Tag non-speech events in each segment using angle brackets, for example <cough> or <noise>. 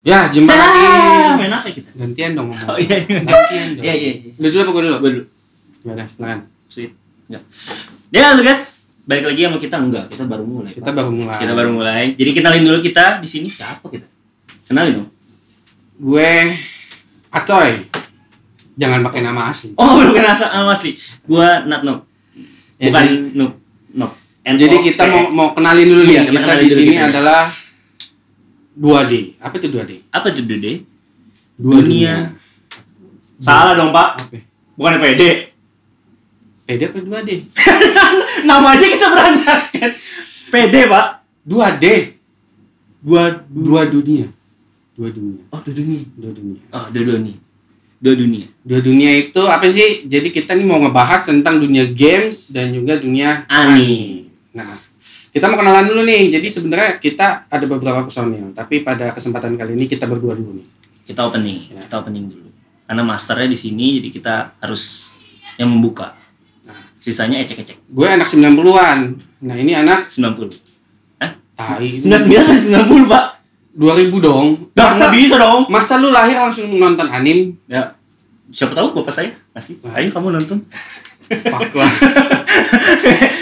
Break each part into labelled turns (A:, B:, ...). A: Ya, jembat lagi.
B: Ah, main apa kita?
A: Gantian dong ngomong.
B: Oh iya.
A: Gantian dong.
B: Iya iya.
A: Lu dulu apa gue dulu?
B: Gue dulu.
A: Ya udah, silakan.
B: Sweet. Enggak. Ya, lu guys, balik lagi sama kita enggak? Kita baru mulai.
A: Kita
B: Pak.
A: baru mulai.
B: Kita baru mulai. Jadi kenalin dulu kita di sini siapa kita? Kenalin dong.
A: Gue Acoy. Jangan pakai nama asli.
B: Oh, belum kenal sama asli. Gua Nat Noob.
A: Ya,
B: Bukan
A: jadi-
B: Noob. Noob.
A: Jadi kita mau mau kenalin dulu
B: Iya,
A: nih.
B: kita
A: Kita di
B: kenalin dulu
A: sini
B: kita.
A: adalah 2D. Apa itu 2D?
B: apa tuh Dede?
A: Dua
B: Dunia. Salah dong, Pak.
A: Apa?
B: Bukan <laughs> PD.
A: PD apa 2D?
B: Namanya kita berantakan. PD, Pak.
A: 2D.
B: Gua
A: Dua dunia. Dua dunia.
B: Oh, dua dunia.
A: Dua dunia.
B: Oh, dua dunia. Dua dunia.
A: Dua dunia itu apa sih? Jadi kita nih mau ngebahas tentang dunia games dan juga dunia
B: Ani.
A: Nah, kita mau kenalan dulu nih. Jadi sebenarnya kita ada beberapa personil, tapi pada kesempatan kali ini kita berdua dulu nih.
B: kita opening kita opening dulu karena masternya di sini jadi kita harus yang membuka sisanya ecek-ecek
A: Gue anak 90-an. Nah, ini anak
B: 90 Hah?
A: Tai.
B: 99 atau 90 pak
A: 2000 dong.
B: nggak
A: Masa,
B: nggak bisa dong
A: masa lu lahir langsung nonton anim?
B: ya siapa tahu bapak saya masih ayo kamu nonton
A: Fuck lah.
B: <laughs>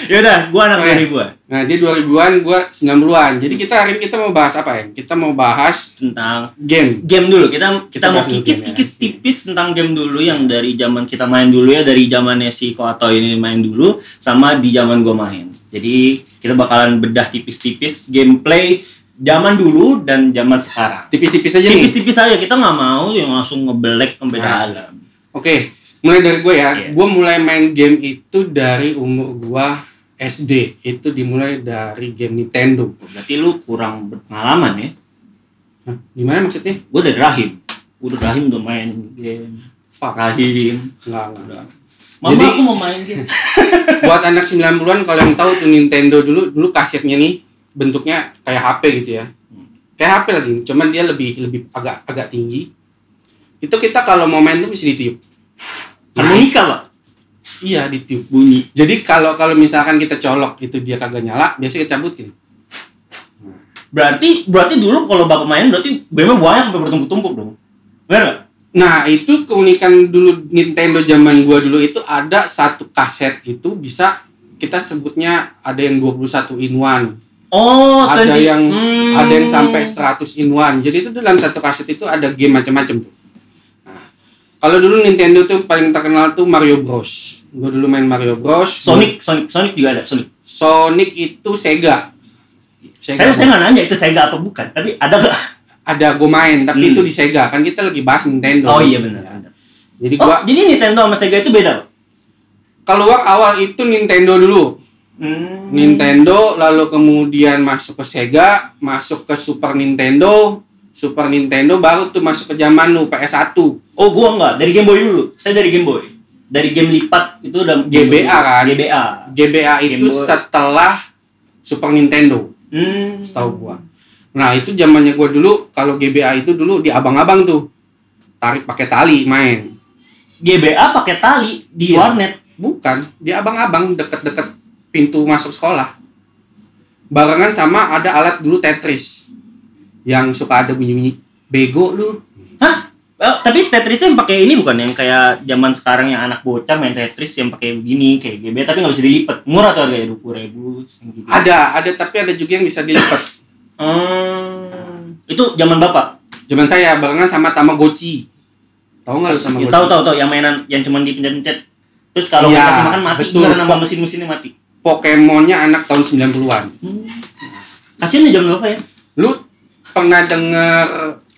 B: yaudah gua anak
A: Oke.
B: 2000-an
A: Nah, dia 2000-an, gue 90-an. Jadi kita hari ini kita mau bahas apa ya? Kita mau bahas
B: tentang
A: game.
B: game dulu kita kita,
A: Kita
B: mau
A: bahas dulu
B: kikis
A: game ya.
B: kikis tipis tentang game dulu yang dari zaman kita main dulu ya dari zamannya si Koato ini main dulu sama di zaman gua main jadi kita bakalan bedah tipis-tipis gameplay zaman dulu dan zaman sekarang
A: Tipis-tipis aja nih.
B: tipis-tipis aja kita nggak mau yang langsung ngebelek pembeda
A: Nah.
B: alam
A: Oke, mulai dari gue ya.
B: Iya.
A: Gue mulai main game itu dari umur gue SD. Itu dimulai dari game Nintendo.
B: berarti lu kurang berpengalaman ya
A: Hah, gimana maksudnya?
B: gua dari rahim gua dari rahim udah main game
A: Fuck.
B: Nah. rahim
A: Enggak, enggak, enggak.
B: Mama
A: Jadi-
B: aku mau main game
A: Buat anak 90-an kalau yang tahu tuh Nintendo dulu dulu kasetnya nih bentuknya kayak HP gitu ya. Kayak HP lagi, cuman dia lebih lebih agak agak tinggi. Itu kita kalau mau main tuh mesti ditiup.
B: harmonika pak
A: Iya, ditiup.
B: bunyi
A: Jadi kalau kalau misalkan kita colok itu dia kagak nyala, biasanya gitu. kita cabut gini.
B: Berarti berarti dulu kalau bapak main berarti BM banyak sampai bertumpuk-tumpuk dong. Benar nggak?
A: Nah, itu keunikan dulu Nintendo zaman gua dulu itu ada satu kaset itu bisa kita sebutnya ada yang 21 in one,
B: Oh,
A: ada
B: tadi-
A: yang
B: hmm.
A: ada yang sampai 100 in one. Jadi itu dalam satu kaset itu ada game macam-macam tuh. Nah, kalau dulu Nintendo tuh paling terkenal tuh Mario Bros. Gua dulu main Mario Bros.
B: Sonic, Sonic, Sonic juga ada Sonic.
A: Sonic itu Sega.
B: Saya saya nggak nanya itu Sega apa bukan, tapi ada nggak?
A: Ada gue main, tapi
B: Hmm.
A: itu di Sega. Kan kita lagi bahas Nintendo.
B: Oh iya benar. benar.
A: Jadi
B: Oh,
A: gua
B: jadi Nintendo sama Sega itu beda. Pak?
A: keluar awal itu Nintendo dulu.
B: Hmm.
A: Nintendo lalu kemudian masuk ke Sega, masuk ke Super Nintendo, Super Nintendo baru tuh masuk ke zaman lu PS1,
B: Oh, gua nggak dari Game Boy dulu. Saya dari Game Boy. Dari game lipat itu udah Game Boy
A: GBA
B: dulu.
A: kan?
B: GBA.
A: GBA itu
B: Game Boy.
A: setelah Super Nintendo,
B: Hmm.
A: setahu gua. Nah, itu zamannya gua dulu kalau GBA itu dulu di abang-abang tuh. Tarik pakai tali main.
B: GBA pakai tali di
A: Iya.
B: warnet.
A: Bukan, di abang-abang deket-deket pintu masuk sekolah. Barengan sama ada alat dulu Tetris. Yang suka ada bunyi-bunyi bego lu.
B: Hah? Eh, tapi Tetris yang pakai ini bukan yang kayak zaman sekarang yang anak bocah main Tetris yang pakai begini kayak GB tapi nggak bisa dilipat. Murah tuh harganya dua puluh ribu. gitu.
A: Ada, ada tapi ada juga yang bisa dilipat.
B: Eh, itu zaman bapak.
A: Zaman saya barengan sama Tamagotchi. Tahu nggak lu Tamagotchi?
B: ya, Tahu tahu tahu yang mainan yang cuma dipencet-pencet. Terus kalau
A: Iya,
B: nggak kasih makan mati,
A: betul.
B: gimana nama mesin-mesinnya mati.
A: Pokemonnya anak tahun 90-an.
B: Kasian ya zaman bapak ya.
A: Lu pernah denger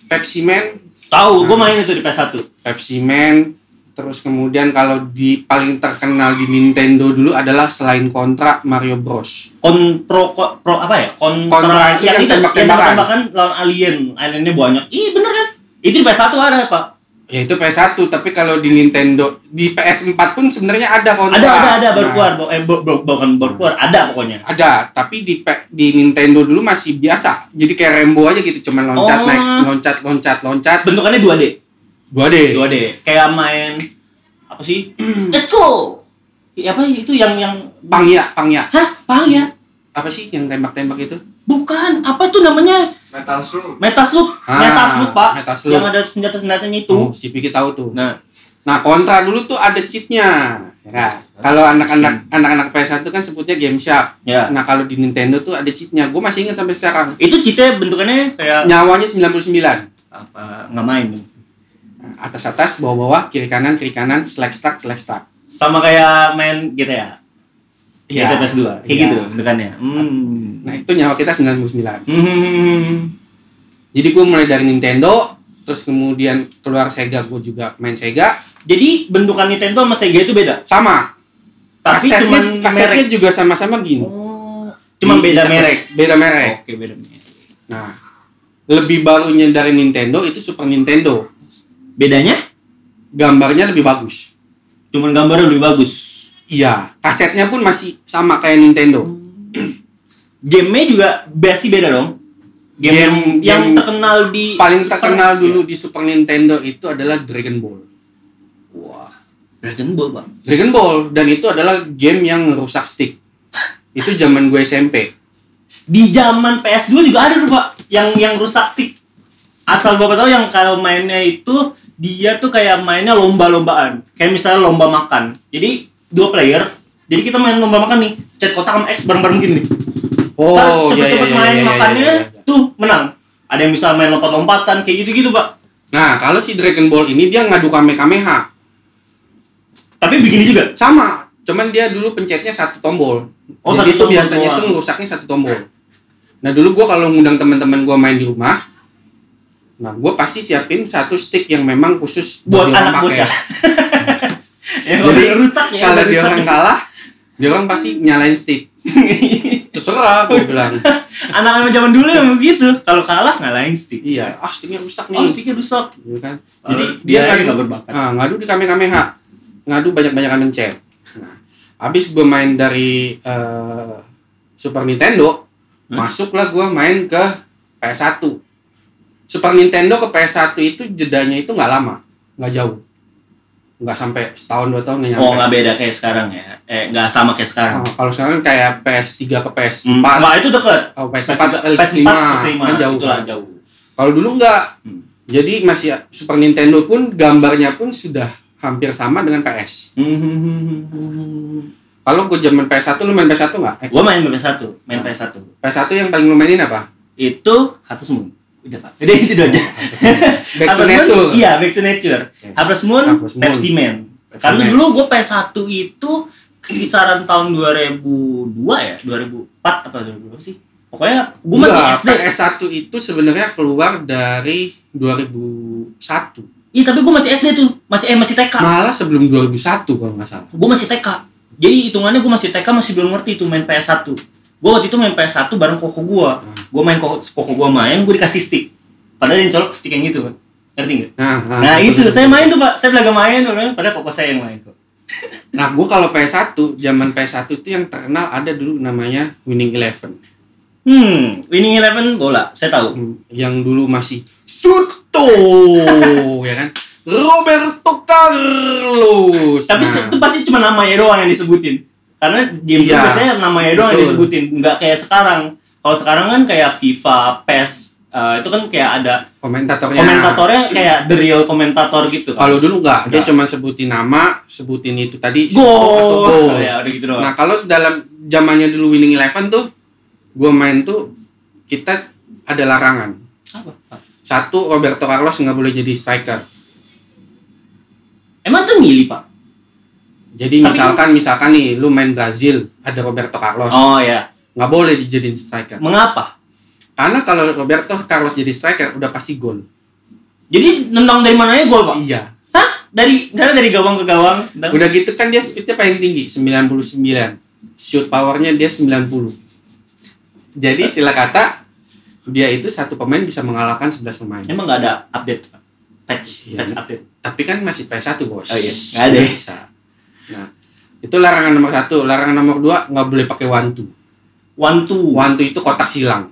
A: Pepsi Man?
B: Tahu, gue main itu di PS1.
A: Pepsi Man terus kemudian kalau di paling terkenal di Nintendo dulu adalah selain kontra Mario Bros.
B: Kon pro, ko- pro apa ya? Kontra,
A: Kontra itu yang tembak-tembakan.
B: tembakan lawan alien. Aliennya banyak. Ih, bener kan? Itu di PS1 ada, Pak.
A: Ya itu PS1, tapi kalau di Nintendo di PS4 pun sebenarnya ada kontra.
B: Ada ada ada baru
A: Nah,
B: keluar bo- eh bo- bo- bukan baru keluar ada pokoknya.
A: ada tapi di pe- di Nintendo dulu masih biasa jadi kayak Rembo aja gitu cuman loncat
B: Oh.
A: naik loncat loncat loncat
B: Bentukannya 2D.
A: dua d
B: 2D. Kayak main apa
A: <clears throat>
B: sih? Let's go. Ya, apa itu yang yang
A: pangya pangya
B: Hah? Pang ya?
A: apa sih yang tembak tembak itu
B: Bukan, apa tuh namanya?
C: Metal Slug.
B: Metaslug.
A: Ah,
B: Metaslug, Pak.
A: Metaslug.
B: Yang ada senjata-senjatanya
A: Oh,
B: itu.
A: si Vicky tahu tuh.
B: Nah,
A: Nah, kontra dulu tuh ada cheatnya. Ya, kan? kalau anak-anak anak-anak PS1 kan sebutnya game shark.
B: ya.
A: Nah, kalau di Nintendo tuh ada cheatnya. Gue masih ingat sampai sekarang.
B: Itu cheatnya bentukannya kayak
A: Nyawanya 99.
B: apa nggak main
A: Nah, Atas-atas, bawah-bawah, kiri kanan, kiri kanan, slack stack, slack stack.
B: sama kayak main GTA
A: Iya.
B: GTA PS2 kayak
A: Iya.
B: gitu bentukannya hmm.
A: Nah, itu nyawa kita 99.
B: hmm.
A: Jadi gue mulai dari Nintendo, terus kemudian keluar Sega, gue juga main Sega.
B: jadi bentukan Nintendo sama Sega itu beda
A: Sama.
B: tapi
A: Kasetnya-
B: cuman
A: kasetnya
B: merek
A: juga sama-sama gini. Iya,
B: oh. cuman beda merek
A: Beda merek.
B: oke beda merek
A: Nah, lebih barunya dari Nintendo itu Super Nintendo.
B: bedanya
A: Gambarnya lebih bagus.
B: cuman gambarnya lebih bagus
A: Iya, kasetnya pun masih sama kayak Nintendo.
B: gamenya juga pasti beda dong game,
A: Game-
B: yang
A: game
B: terkenal di
A: Paling
B: Super- iya.
A: terkenal dulu di Super Nintendo itu adalah Dragon Ball.
B: wah Dragon Ball pak
A: Dragon Ball dan itu adalah game yang rusak stick. Itu zaman gue SMP.
B: di zaman PS2 juga ada tuh pak yang yang rusak stick asal bapak tahu yang kalau mainnya itu dia tuh kayak mainnya lomba-lombaan kayak misalnya lomba makan jadi dua player jadi kita main lomba makan nih cet kotak sama X bareng-bareng gini nih. Ntar
A: Oh, iya iya
B: cepet-cepet
A: iya,
B: main
A: iya, iya,
B: makannya
A: iya.
B: tuh menang ada yang bisa main lompat-lompatan kayak gitu-gitu pak
A: Nah, kalau si Dragon Ball ini dia ngadu kamehameha.
B: tapi begini juga
A: Sama, cuman dia dulu pencetnya satu tombol.
B: Oh,
A: Jadi
B: satu
A: itu
B: tombol
A: biasanya
B: doang.
A: itu ngerusaknya satu tombol. Nah, dulu gue kalau ngundang teman-teman gue main di rumah, nah gue pasti siapin satu stick yang memang khusus
B: buat
A: orang
B: anak
A: pakai.
B: bocah <laughs> ya, <laughs>
A: Jadi,
B: rusak ya
A: <laughs> kalau
B: rusak.
A: dia orang kalah dia orang pasti nyalain
B: <laughs>
A: stick terserah gue bilang
B: anak-anak zaman dulu emang begitu kalau kalah ngalahin stick
A: iya ah sticknya rusak nih
B: oh sticknya rusak
A: Gitu kan jadi
B: Jadi dia
A: dia
B: aja
A: ngadu
B: nggak berbakat.
A: ah, ngadu di kame kameha ngadu banyak banyakan mencet nah abis gue main dari eh, Super Nintendo
B: Hmm?
A: masuklah gue main ke PS1 Super Nintendo ke PS1 itu jedanya itu nggak lama nggak jauh nggak sampai setahun dua tahun nggak nyampe
B: Oh nggak beda kayak sekarang ya? Eh nggak sama kayak sekarang?
A: Nah, kalau sekarang kayak PS3 ke PS4
B: Hmm. Wah itu deket.
A: Oh, PS4,
B: PS4,
A: PS5,
B: PS5,
A: kan jauh.
B: Itulah gitu jauh.
A: Kalau dulu enggak.
B: Hmm.
A: Jadi masih Super Nintendo pun gambarnya pun sudah hampir sama dengan PS.
B: Hmm.
A: Kalau gue zaman PS1 lu main PS1 enggak? Eh,
B: Gue main PS1, main PS1.
A: PS1 yang paling lu mainin
B: <laughs>
A: apa?
B: Itu Harvest Moon. Udah pak. Udah itu dulu aja.
A: Back to
B: Harvest Moon,
A: Nature.
B: Iya Back to Nature.
A: Iya.
B: Harvest Moon,
A: Harvest Moon.
B: Pepsi Man.
A: Pepsi
B: Karena
A: Man.
B: dulu gue PS1 itu kisaran tahun 2002 ya, 2004 atau 2000 berapa sih? Pokoknya gue masih
A: Enggak,
B: SD.
A: PS1 itu sebenarnya keluar dari 2001.
B: Iya tapi gue masih SD tuh, masih eh masih TK.
A: Malah sebelum 2001 kalau nggak salah.
B: gue masih TK jadi hitungannya gue masih TK masih belum ngerti itu main PS1 gue waktu itu main PS1 bareng koko gue gue main koko, koko gue main gue dikasih stick padahal yang colok stick yang gitu kan ngerti nggak
A: Nah,
B: nah itu
A: betul.
B: saya main tuh pak saya belaga main orang padahal koko saya yang main kok
A: Nah, gue kalau PS1, zaman PS1 itu yang terkenal ada dulu namanya Winning Eleven.
B: hmm winning eleven bola saya tahu
A: Hmm, yang dulu masih
B: <laughs>
A: Suto ya kan Roberto Carlos
B: tapi
A: Nah,
B: itu pasti cuma namanya doang yang disebutin karena game itu
A: Iya.
B: biasanya namanya doang yang
A: Betul.
B: disebutin nggak kayak sekarang kalau sekarang kan kayak FIFA PES eh, itu kan kayak ada
A: komentatornya
B: komentatornya kayak the real komentator gitu kan.
A: Iya. kalau dulu enggak, dia
B: Enggak.
A: cuma sebutin nama sebutin itu tadi Suto atau
B: gol.
A: gol
B: Ya, udah gitu doang.
A: nah kalau dalam zamannya dulu winning eleven tuh gue main tuh kita ada larangan
B: Apa?
A: satu Roberto Carlos nggak boleh jadi striker
B: Emang tuh milih, Pak?
A: jadi
B: Tapi-
A: misalkan misalkan nih lu main Brazil ada Roberto Carlos
B: Oh ya.
A: nggak boleh dijadiin striker
B: Mengapa?
A: karena kalau Roberto Carlos jadi striker udah pasti gol
B: Jadi nendang dari mananya gol, Pak?
A: Iya.
B: Hah? Dari karena dari gawang ke gawang. nendang.
A: Udah gitu kan dia speednya paling tinggi 99. Shoot powernya dia 90. Jadi sila kata dia itu satu pemain bisa mengalahkan 11 pemain.
B: Emang nggak ada update, Pak? Patch,
A: Iya.
B: patch update.
A: Tapi kan masih PS1 bos.
B: Oh iya, nggak ada ya?
A: Bisa. Nah, itu larangan nomor satu. Larangan nomor dua nggak boleh pakai wantu.
B: One two.
A: Wantu itu kotak silang.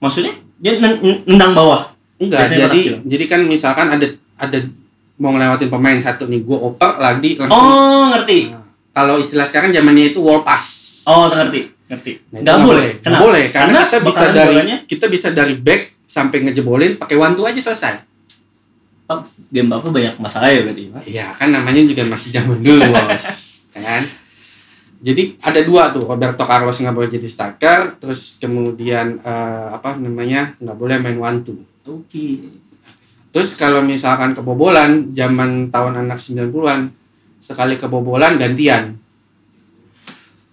B: Maksudnya? Dia nen- nen- nendang bawah.
A: Enggak.
B: Biasanya
A: jadi
B: kotak silang.
A: jadi kan misalkan ada ada mau ngelewatin pemain satu nih gue oper lagi langsung. Nah,
B: Oh, ngerti.
A: Kalau istilah sekarang zamannya itu wall pass.
B: Oh, ngerti. ngerti
A: Nah, itu
B: nggak boleh
A: Nggak
B: Kenapa?
A: boleh karena, kita bisa
B: bakalan
A: dari
B: bolanya
A: kita bisa dari back sampai ngejebolin pakai wantu aja selesai.
B: Pak, oh, game bapak banyak masalah ya berarti Pak?
A: Iya kan namanya juga masih zaman
B: <laughs>
A: dulu bos, kan? Jadi ada dua tuh Roberto Carlos nggak boleh jadi striker, terus kemudian eh, apa namanya nggak boleh main wantu.
B: oke
A: Terus kalau misalkan kebobolan zaman tahun anak 90-an sekali kebobolan gantian.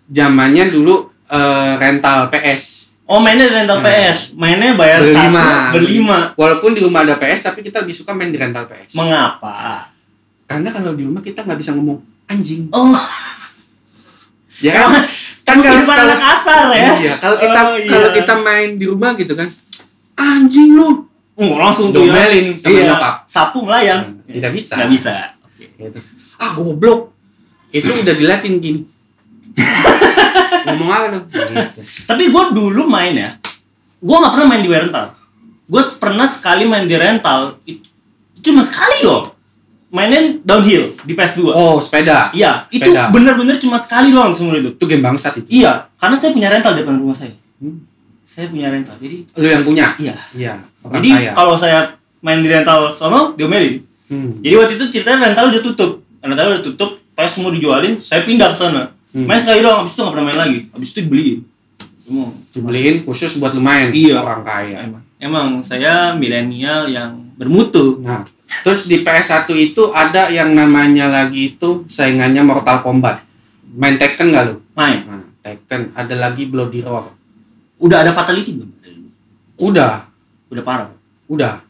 A: Zamannya dulu eh, rental PS.
B: oh mainnya rental
A: Nah.
B: PS mainnya bayar
A: Berlima.
B: satu berlima
A: Walaupun di rumah ada PS tapi kita lebih suka main di rental PS.
B: mengapa
A: Karena kalau di rumah kita nggak bisa ngomong anjing.
B: oh
A: Ya kan? kan kalau
B: kehidupan
A: kalau
B: anak kasar ya
A: Iya, kalau kita
B: Oh, iya.
A: kalau kita main di rumah gitu kan. Anjing lu.
B: Oh, langsung tuh ya.
A: Domelin sama
B: Iya,
A: nyokap.
B: sapu melayang
A: Tidak bisa.
B: nggak bisa oke
A: Gitu. Ah, goblok. Itu udah dilatin
B: <laughs>
A: gini. ngomong apa dong? Gitu.
B: Tapi gue dulu main ya, gue nggak pernah main di rental. Gue pernah sekali main di rental, itu cuma sekali dong. Mainin downhill di PS2.
A: Oh, sepeda.
B: Iya, itu
A: sepeda.
B: bener-bener cuma sekali doang seumur hidup.
A: Itu game bangsat itu.
B: Iya, karena saya punya rental di depan rumah saya.
A: Hmm.
B: Saya punya rental, jadi
A: Lu yang punya?
B: iya.
A: Iya, orang
B: jadi
A: kaya.
B: kalau saya main di rental sono, diomelin.
A: Hmm.
B: Jadi waktu itu ceritanya rental udah tutup. Rental udah tutup, PS semua dijualin, saya pindah ke sana.
A: Hmm.
B: Main sekali doang, abis itu nggak pernah main lagi. Abis itu dibeliin. Emang,
A: Dibeliin khusus buat lu main
B: Iya.
A: orang kaya.
B: Emang, emang saya milenial yang bermutu.
A: Nah, terus di PS1 itu ada yang namanya lagi itu saingannya Mortal Kombat. Main Tekken nggak lu?
B: Main.
A: Nah, Tekken ada lagi Bloody Roar.
B: Udah ada fatality belum?
A: Udah,
B: Udah parah.
A: udah.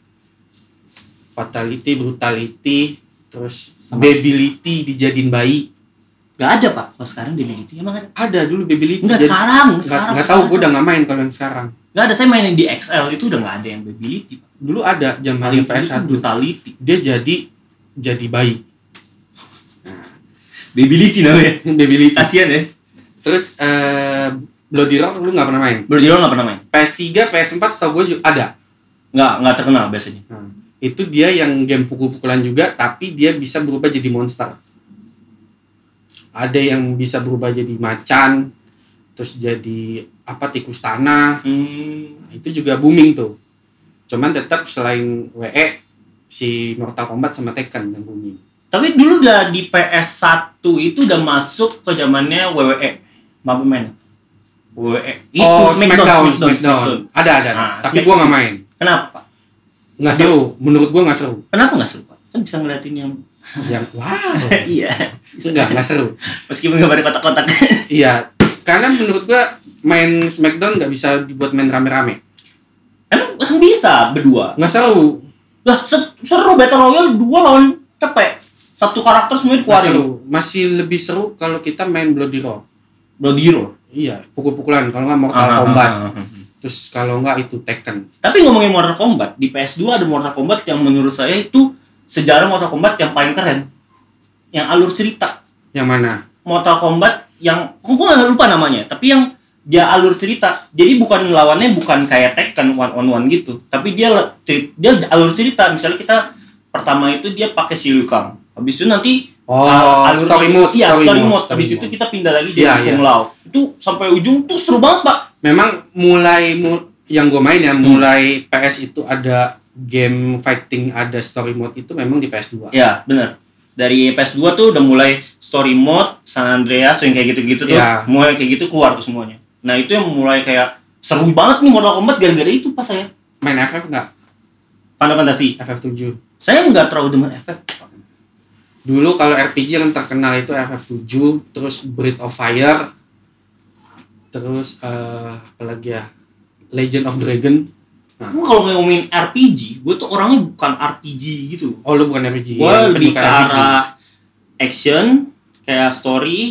A: Fatality, brutality, terus
B: Sama.
A: babyity dijadiin bayi.
B: Gak ada pak. Kalau sekarang di Militi emang ada.
A: Ada dulu babyity.
B: Enggak
A: jadi-
B: sekarang.
A: nggak
B: sekarang.
A: nggak tahu, gue udah nggak main kalau yang sekarang.
B: Nggak ada. Saya mainin di XL itu udah nggak ada yang Babylitti. Pak.
A: Dulu ada zaman
B: Babylitti itu
A: PS1
B: brutality.
A: dia jadi jadi
B: <laughs>
A: bayi.
B: Babylitti namanya.
A: babyity.
B: Kasian ya.
A: Terus eh Bloody Roar lu nggak pernah main.
B: Berjuang nggak pernah main.
A: PS3, PS4 setahu gue juga ada.
B: Nggak nggak terkenal biasanya.
A: Nah, itu dia yang game pukul-pukulan juga, tapi dia bisa berubah jadi monster. Ada yang bisa berubah jadi macan, terus jadi apa tikus tanah.
B: Hmm.
A: Nah, itu juga booming tuh. Cuman tetap selain WE si Mortal Kombat sama Tekken yang booming.
B: Tapi dulu udah di PS1 itu udah masuk ke zamannya WWE. Mau main? WWE. Itu
A: oh, Smackdown, Ah, Smackdown.
B: Smackdown.
A: Ada, ada.
B: Nah,
A: tapi
B: Smackdown.
A: gua nggak main.
B: Kenapa?
A: Nggak seru. Menurut gua <laughs> nggak seru.
B: Kenapa nggak seru? Pak? Kan bisa ngeliatin
A: <laughs>
B: yang
A: Yang wow.
B: iya.
A: Enggak, nggak seru.
B: Meskipun nggak pada kotak-kotak.
A: Iya. Karena menurut gua main Smackdown nggak bisa dibuat main rame-rame.
B: <laughs> Emang langsung bisa berdua.
A: Nggak seru.
B: Lah se- seru battle royale dua lawan cepet. Satu karakter semuanya
A: Masih
B: dikeluarin.
A: seru. Masih lebih seru kalau kita main Bloody Roar.
B: Bloody Roar.
A: Iya, pukul-pukulan. Kalau nggak Mortal
B: Ah, ah,
A: Kombat.
B: ah, ah.
A: Terus kalau nggak itu Tekken.
B: Tapi ngomongin Mortal Kombat, di PS2 ada Mortal Kombat yang menurut saya itu sejarah Mortal Kombat yang paling keren. Yang alur cerita.
A: Yang mana?
B: Mortal Kombat yang kok gue nggak lupa namanya, tapi yang dia alur cerita. Jadi bukan lawannya bukan kayak Tekken one on one gitu, tapi dia le- ceri- dia alur cerita. Misalnya kita pertama itu dia pakai si Liu Kang. Habis itu nanti
A: Oh,
B: Al- Ah, alur-
A: story mode.
B: Iya, story, mode.
A: story
B: Habis
A: mode.
B: itu kita pindah lagi jadi
A: Iya,
B: Kung Lao. Itu sampai ujung tuh seru banget, Pak.
A: Memang mulai mu- yang gue main ya,
B: Hmm.
A: mulai PS itu ada game fighting, ada story mode itu memang di PS2.
B: Iya, benar. Dari PS2 tuh udah mulai story mode, San Andreas yang kayak gitu-gitu tuh.
A: Iya.
B: Mulai kayak gitu keluar tuh semuanya. Nah, itu yang mulai kayak seru banget nih Mortal Kombat gara-gara itu pas saya.
A: Main FF nggak?
B: Final Fantasy.
A: FF7.
B: Saya nggak terlalu demen FF. Pak.
A: Dulu kalau RPG yang terkenal itu FF7, terus Breath of Fire, terus eh apa lagi ya? Legend of Dragon.
B: Gue kalau ngomongin RPG, gue tuh orangnya bukan RPG gitu.
A: Oh lu bukan RPG.
B: gue
A: ya, lu kan
B: lebih ke
A: bukan RPG.
B: arah action kayak story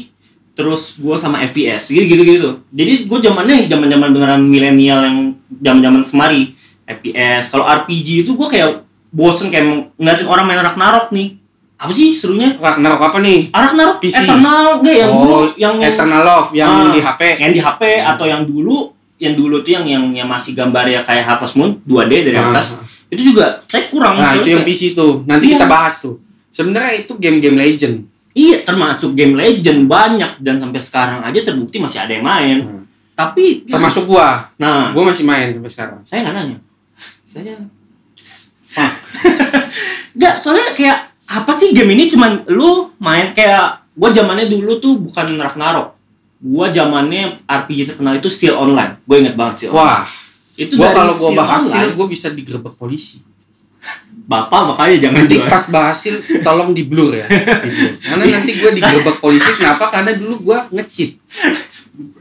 B: terus gue sama FPS gitu gitu gitu jadi gue zamannya zaman zaman beneran milenial yang zaman zaman semari FPS kalau RPG itu gue kayak bosen kayak ngeliatin orang main Ragnarok nih apa sih serunya
A: Ragnarok apa nih?
B: Ragnarok
A: PC.
B: Eternal enggak yang dulu
A: Oh,
B: yang
A: Eternal Love yang
B: Ah.
A: di HP.
B: yang di HP
A: Hmm.
B: atau yang dulu yang dulu tuh yang yang, yang masih gambar ya kayak Harvest Moon 2D dari
A: Ah.
B: atas itu juga saya kurang
A: Nah,
B: soalnya
A: itu yang
B: kayak-
A: PC itu. Nanti
B: Iya.
A: kita bahas tuh. Sebenarnya itu game-game legend.
B: Iya, termasuk game legend banyak dan sampai sekarang aja terbukti masih ada yang main.
A: Nah,
B: tapi
A: termasuk gua
B: nah
A: gua masih main sampai sekarang
B: saya nggak nanya saya fuck <laughs> nggak soalnya kayak apa sih game ini cuman lu main kayak gua zamannya dulu tuh bukan Ragnarok gua zamannya RPG terkenal itu Seal Online gue inget banget Seal Online.
A: wah
B: itu
A: gua
B: dari
A: kalau gua
B: Seal
A: berhasil
B: Online.
A: gua bisa digerebek polisi
B: bapak makanya jangan
A: nanti
B: jual.
A: pas berhasil tolong di blur ya Di blur. karena nanti gua digerebek polisi kenapa karena dulu gua nge-cheat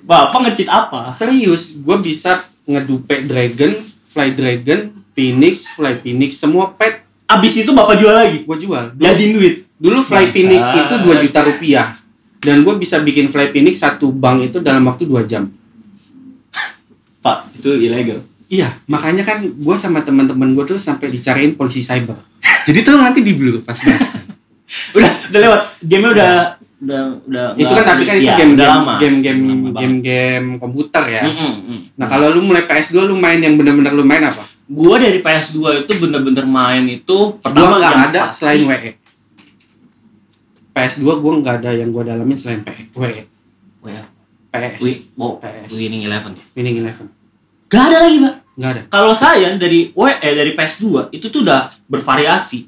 B: bapak ngecit apa
A: serius gua bisa ngedupe dragon fly dragon phoenix fly phoenix semua pet
B: abis itu bapak jual lagi
A: gua jual dulu,
B: jadiin duit
A: dulu fly
B: Bangsat.
A: phoenix itu 2 juta rupiah dan gua bisa bikin fly phoenix satu bank itu dalam waktu 2 jam
B: pak itu ilegal
A: Iya, makanya kan gue sama teman-teman gue tuh sampai dicariin polisi cyber. Jadi tuh nanti di blur pas bahas.
B: udah udah lewat gamenya udah udah udah
A: <laughs> Iya. itu kan tapi kan itu
B: Iya,
A: game
B: udah
A: game
B: lama.
A: game game
B: Udah lama
A: game,
B: banget.
A: game, komputer ya.
B: Mm-mm, mm.
A: Nah kalau lu mulai PS2 lu main yang benar-benar lu main apa?
B: gua dari PS2 itu bener-bener main itu
A: Pertama
B: pertama
A: nggak
B: yang
A: ada
B: pasti-
A: selain E. WE. PS2 gue nggak ada yang gue dalamin selain E. PE. WE.
B: Well,
A: PS.
B: wi- wow,
A: PS.
B: Winning Eleven ya.
A: Winning Eleven.
B: Gak ada lagi pak.
A: Nggak ada.
B: Kalau saya dari WE dari PS2 itu tuh udah bervariasi.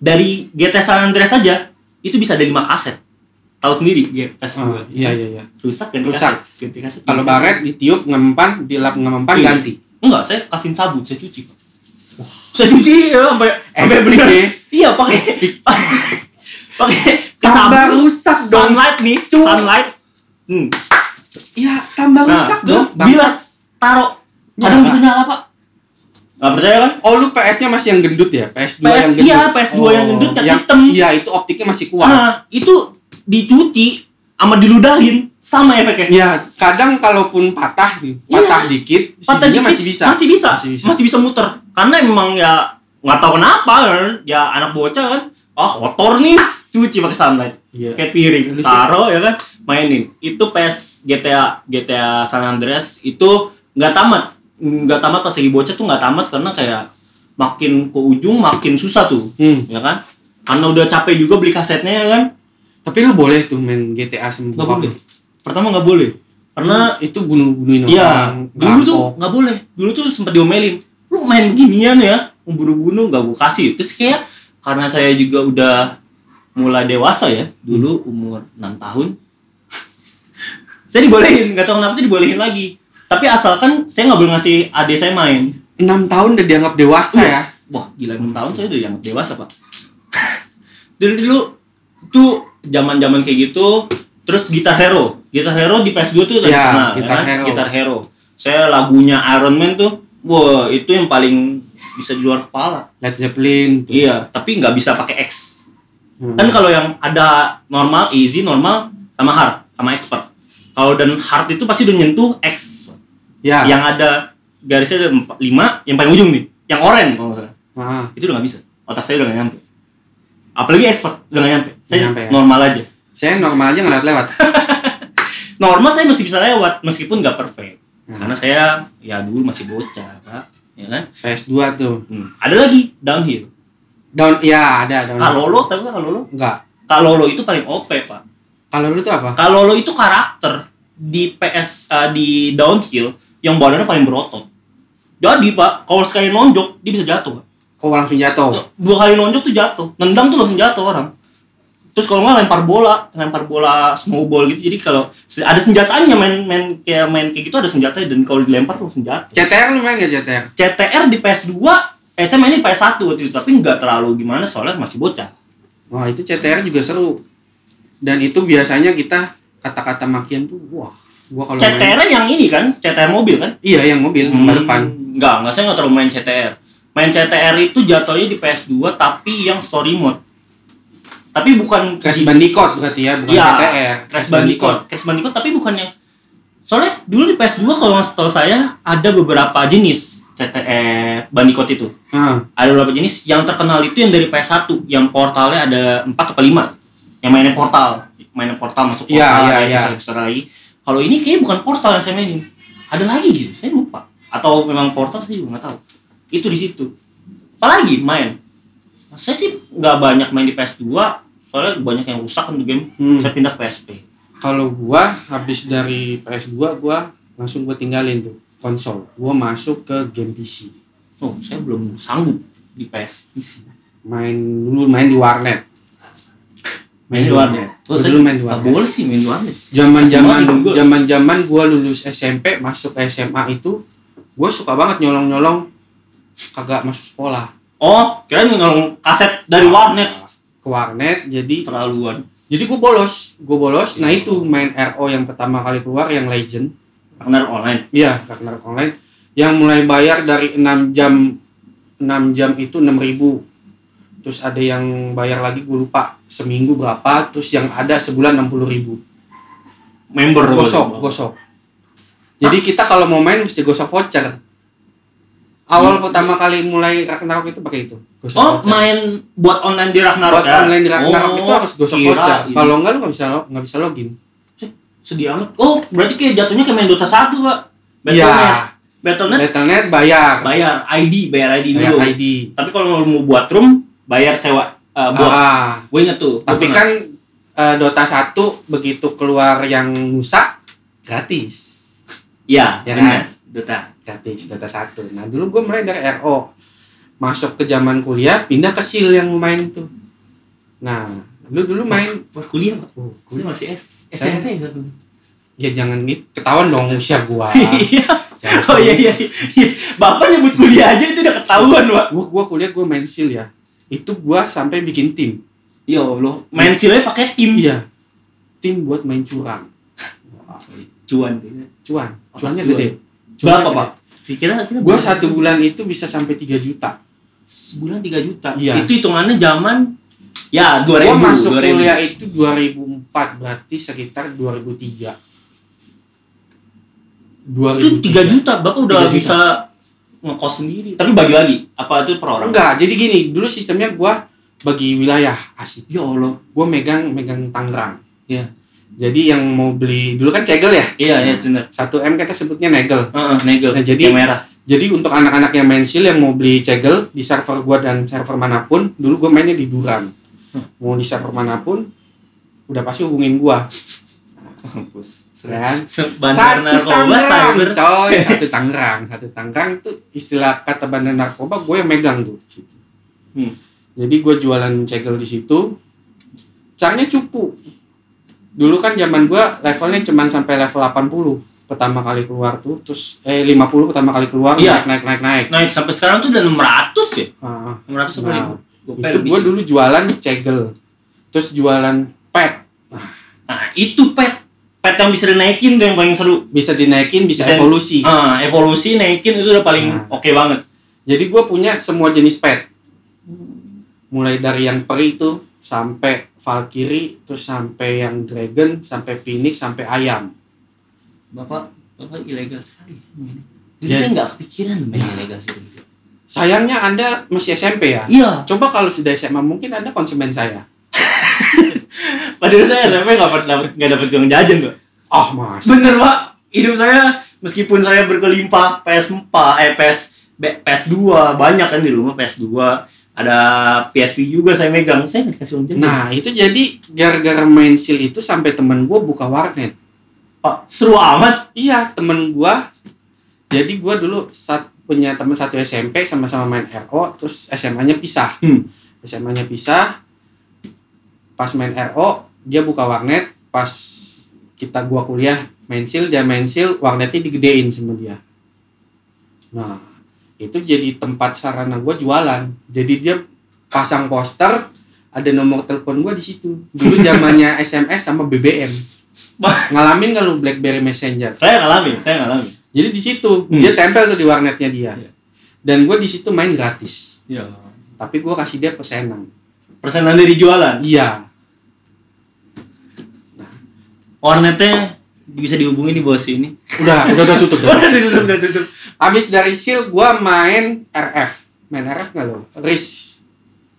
B: Dari GTA San Andreas saja itu bisa ada 5 kaset. Tahu sendiri
A: Ah,
B: PS2.
A: iya iya iya.
B: Rusak ganti
A: Rusak.
B: kaset. Ganti kaset.
A: Kalau
B: ganti kaset.
A: baret ditiup ngempan dilap ngempan
B: Iya.
A: ganti.
B: Enggak, saya kasihin sabun, saya cuci. Pak. Saya cuci ya, sampai sampai
A: Ekstrik
B: bener.
A: ya.
B: Iya,
A: <laughs>
B: pakai pakai
A: Tambah
B: sabun,
A: rusak dong.
B: Sunlight nih,
A: Cuk.
B: sunlight. Hmm.
A: Iya tambah
B: Nah,
A: rusak
B: tuh
A: dong. Iya.
B: bilas taruh.
A: Nyala.
B: Kadang bisa nyala, Pak. Gak percaya kan?
A: Oh lu PS-nya masih yang gendut ya? PS2
B: PS
A: yang gendut. Oh,
B: iya, PS2 yang gendut, cat hitam.
A: Iya, itu optiknya masih kuat.
B: Nah, itu dicuci sama diludahin sama efeknya.
A: Ya, kadang kalaupun patah nih, patah dikit,
B: Iya. Patah
A: CD-nya
B: dikit,
A: masih bisa.
B: Masih bisa.
A: Masih bisa.
B: Masih bisa muter. Karena emang ya nggak tahu kenapa kan. Ya anak bocah kan. Ah, kotor nih. Cuci pakai sunlight.
A: Iya.
B: Kayak piring.
A: Lu sih-
B: Taruh ya kan. Mainin. Itu PS GTA GTA San Andreas itu nggak tamat. Nggak tamat pas lagi bocah tuh nggak tamat karena kayak makin ke ujung makin susah tuh.
A: Hmm.
B: Ya kan? Karena udah capek juga beli kasetnya ya kan.
A: Tapi lu boleh tuh main GTA sama
B: Nggak
A: bokap
B: boleh.
A: lu.
B: Pertama nggak boleh. Karena
A: Itu- itu bunuh-bunuhin
B: Iya,
A: orang.
B: dulu tuh
A: rampok.
B: nggak boleh. Dulu tuh sempat diomelin. Lu main beginian ya, membunuh-bunuh nggak gue kasih. Terus kayak karena saya juga udah mulai dewasa ya, dulu umur 6 tahun. <laughs> saya dibolehin, nggak tahu kenapa tuh dibolehin lagi. Tapi asalkan saya nggak boleh ngasih adik saya main.
A: 6 tahun udah dianggap dewasa
B: Iya.
A: ya.
B: Wah, gila 6 tahun saya udah dianggap dewasa, Pak. dulu dulu tuh zaman-zaman kayak gitu, terus Guitar Hero. Guitar Hero di PS2 tuh udah
A: Ya,
B: terkenal,
A: Guitar
B: kan?
A: Hero.
B: Guitar Hero. Saya lagunya Iron Man tuh, wah, itu yang paling bisa di luar kepala.
A: Led Zeppelin tuh.
B: Iya, tapi nggak bisa pakai X.
A: Hmm.
B: Kan kalau yang ada normal, easy, normal, sama hard, sama expert. Kalau dan hard itu pasti udah nyentuh X.
A: Ya.
B: Yang ada garisnya ada 5, yang paling ujung nih, yang oranye kalau nggak salah
A: Ah,
B: itu udah nggak bisa otak saya udah nggak nyampe apalagi expert udah nggak nyampe saya
A: Nyampe, ya.
B: normal aja
A: saya normal aja nggak lewat.
B: normal saya masih bisa lewat meskipun nggak perfect
A: Hmm.
B: karena saya ya dulu masih bocah Pak. ya kan
A: PS2 tuh.
B: Hmm. ada lagi downhill
A: Down ya ada down.
B: kalolo tahu nggak kalolo
A: enggak.
B: kalolo itu paling op pak
A: Kalau lu tuh apa?
B: kalolo itu karakter di ps eh, di downhill yang badannya paling berotot jadi pak kalau sekali nonjok dia bisa jatuh Pak.
A: Kok Oh, langsung jatuh?
B: Oh, dua kali nonjok tuh jatuh nendang tuh langsung jatuh orang terus kalau nggak lempar bola lempar bola snowball gitu jadi kalau se- ada senjatanya main main kayak main kayak gitu ada senjatanya dan kalau dilempar tuh langsung jatuh
A: CTR lu main gak CTR?
B: CTR di PS2 eh saya mainin PS1 waktu itu tapi nggak terlalu gimana soalnya masih bocah
A: Wah itu CTR juga seru. Dan itu biasanya kita kata-kata makian tuh, wah, gua kalau main,
B: CTR yang ini kan CTR mobil kan
A: iya yang mobil hmm.
B: Hmm,
A: depan.
B: nggak nggak saya nggak terlalu main CTR main CTR itu jatuhnya di PS2 tapi yang story mode tapi bukan
A: Crash
B: di-
A: Bandicoot berarti ya, bukan
B: Iya,
A: CTR.
B: Crash Bandicoot. Crash Bandicoot tapi bukan yang soalnya dulu di PS2 kalau nggak setahu saya ada beberapa jenis CTR Bandicoot itu.
A: Ah,
B: Ada beberapa jenis yang terkenal itu yang dari PS1 yang portalnya ada 4 atau 5. Yang mainnya portal, mainnya portal masuk portal
A: Iya, iya,
B: ada
A: iya.
B: episode-episode lagi. Kalau ini kayaknya bukan portal yang saya mainin. Ada lagi gitu, saya lupa. Atau memang portal saya juga nggak tahu. Itu di situ. Apalagi main saya sih nggak banyak main di PS2 soalnya banyak yang rusak kan tuh game
A: Hmm.
B: saya pindah ke PSP
A: kalau gua habis dari PS2 gua langsung gua tinggalin tuh konsol. Gua masuk ke game PC.
B: Oh, saya belum sanggup di PS PC.
A: Main dulu main di warnet.
B: Main di warnet.
A: Gua dulu main di warnet. Oh,
B: Boleh sih main di warnet.
A: Zaman-zaman
B: Masih main gua.
A: zaman-zaman gua lulus SMP masuk ke SMA itu gua suka banget nyolong-nyolong kagak masuk sekolah.
B: Oh, kirain ngolong kaset dari warnet.
A: Ke warnet jadi
B: Terlaluan.
A: jadi gua bolos, gua bolos. Nah itu main RO yang pertama kali keluar yang Legend.
B: Partner online.
A: Iya, karena online yang mulai bayar dari 6 jam 6 jam itu 6000. Terus ada yang bayar lagi gue lupa seminggu berapa, terus yang ada sebulan 60.000.
B: Member
A: Gosok, gosok. Jadi kita kalau mau main mesti gosok voucher. Awal pertama kali mulai Ragnarok itu pakai itu. Gosok
B: Oh,
A: voucher.
B: main buat online di Ragnarok
A: Buat online di Ragnarok
B: Oh,
A: itu harus gosok
B: kira
A: voucher.
B: ini.
A: Kalau enggak lu nggak bisa lo- nggak bisa login.
B: sedih amat. Oh, berarti kayak jatuhnya kayak main Dota 1, Pak. Battle.net.
A: Iya.
B: Battle.net
A: Battle.net bayar.
B: bayar ID, bayar ID
A: Bayar
B: dulu.
A: ID.
B: Tapi kalau mau buat room, bayar sewa eh, buat.
A: Ah.
B: Gue inget tuh. gua
A: Tapi
B: pernah.
A: kan eh, Dota 1 begitu keluar yang Nusa gratis.
B: Iya,
A: Ya
B: benar. Dota.
A: Gratis Dota 1. Nah, dulu gue mulai dari RO. Masuk ke zaman kuliah, pindah ke SIL yang main tuh. Nah, lu dulu main
B: Wah, kuliah, Pak.
A: Oh,
B: Kuliah masih S
A: Saya-
B: SMP kan.
A: ya jangan gitu ketahuan dong usia gua.
B: Iya.
A: Jangan-
B: <laughs> Oh iya iya. iya. Bapak nyebut kuliah aja itu udah ketahuan, Pak.
A: Gua gua kuliah gua main SIL ya. Itu gua sampai bikin tim.
B: Ya Allah, main silnya pakai tim.
A: Iya. Tim buat main curang.
B: Cuan tuh. ya.
A: Cuan.
B: Apa
A: Cuannya
B: Oh, cuan?
A: gede. Cuannya
B: Berapa,
A: gede.
B: Pak? Kita kita
A: Gua satu bulan itu bisa sampai 3 juta.
B: sebulan 3 juta.
A: Iya.
B: Itu hitungannya zaman ya 2000,
A: Gua masuk
B: 2000.
A: kuliah itu 2004 berarti sekitar 2003. 2003.
B: Itu 3 juta, Bapak udah
A: 3 juta.
B: bisa ngekos sendiri. Tapi bagi-bagi apa itu per orang?
A: Enggak, jadi gini, dulu sistemnya gua bagi wilayah asik.
B: Ya Allah.
A: Gua megang megang Tangerang.
B: Iya.
A: Jadi yang mau beli dulu kan cegel ya?
B: Iya, iya benar.
A: 1M kita sebutnya negel.
B: Heeh, negel.
A: Nah, jadi-
B: Yang <laughs> merah.
A: Jadi untuk anak-anak yang main seal yang mau beli cegel di server gua dan server manapun, dulu gua mainnya di Duran.
B: Hmm.
A: Mau di server manapun udah pasti hubungin gua.
B: Kampus.
A: Kan?
B: Bandar narkoba cyber. <laughs>
A: coy satu Tangerang satu Tangerang itu istilah kata bandar narkoba gue yang megang tuh gitu.
B: Hmm.
A: jadi gue jualan cegel di situ caranya cupu dulu kan zaman gue levelnya cuman sampai level 80 pertama kali keluar tuh terus eh 50 pertama kali keluar
B: Iya.
A: naik naik naik naik
B: Naik sampai sekarang tuh udah 600 ya?
A: Ah,
B: 600 apa
A: Nah,
B: ribu? Gopay
A: itu
B: lebih
A: gue
B: sih.
A: dulu jualan cegel terus jualan pet
B: Nah, itu pet. Pet yang bisa dinaikin tuh yang paling seru.
A: bisa dinaikin bisa,
B: Bisa-
A: evolusi
B: Ah, evolusi naikin itu udah paling
A: Nah.
B: oke banget.
A: Jadi gue punya semua jenis pet. Mulai dari yang peri itu sampai Valkyrie, terus sampai yang dragon, sampai phoenix, sampai ayam.
B: Bapak, Bapak ilegal sekali. Nah.
A: Jadi saya
B: nggak kepikiran main ilegal sih.
A: Sayangnya Anda masih SMP ya?
B: Iya,
A: Coba kalau sudah SMA mungkin Anda konsumen saya.
B: padahal saya SMP nggak pernah nggak dapet uang jajan tuh.
A: Oh, Mas.
B: Bener pak, hidup saya meskipun saya berkelimpah PS4, eh PS B- PS2 banyak kan di rumah PS2 ada PSP juga saya megang saya nggak dikasih uang jajan
A: Nah, itu jadi gara-gara main seal itu sampai temen gue buka warnet.
B: pak seru amat
A: Iya, temen gue. Jadi gue dulu saat punya temen satu SMP sama-sama main RO, terus SMA-nya pisah.
B: hmm.
A: SMA-nya pisah. Pas main RO, dia buka warnet. Pas kita gua kuliah main seal, dia main seal, warnetnya digedein sama dia. Nah, itu jadi tempat sarana gua jualan. Jadi dia pasang poster, ada nomor telepon gua di situ. Dulu zamannya SMS sama BBM.
B: Bah.
A: Ngalamin nggak lu BlackBerry Messenger?
B: saya ngalamin saya ngalamin
A: Jadi di situ
B: Hmm.
A: dia tempel tuh di warnetnya dia.
B: Iya.
A: Dan gua di situ main gratis.
B: ya
A: Tapi gua kasih dia pesenan.
B: persenan dari jualan
A: Iya,
B: warnetnya bisa dihubungin di bawah sini
A: udah udah udah tutup dah.
B: <laughs> udah tutup udah tutup
A: abis dari seal gua main RF main RF nggak lo Risk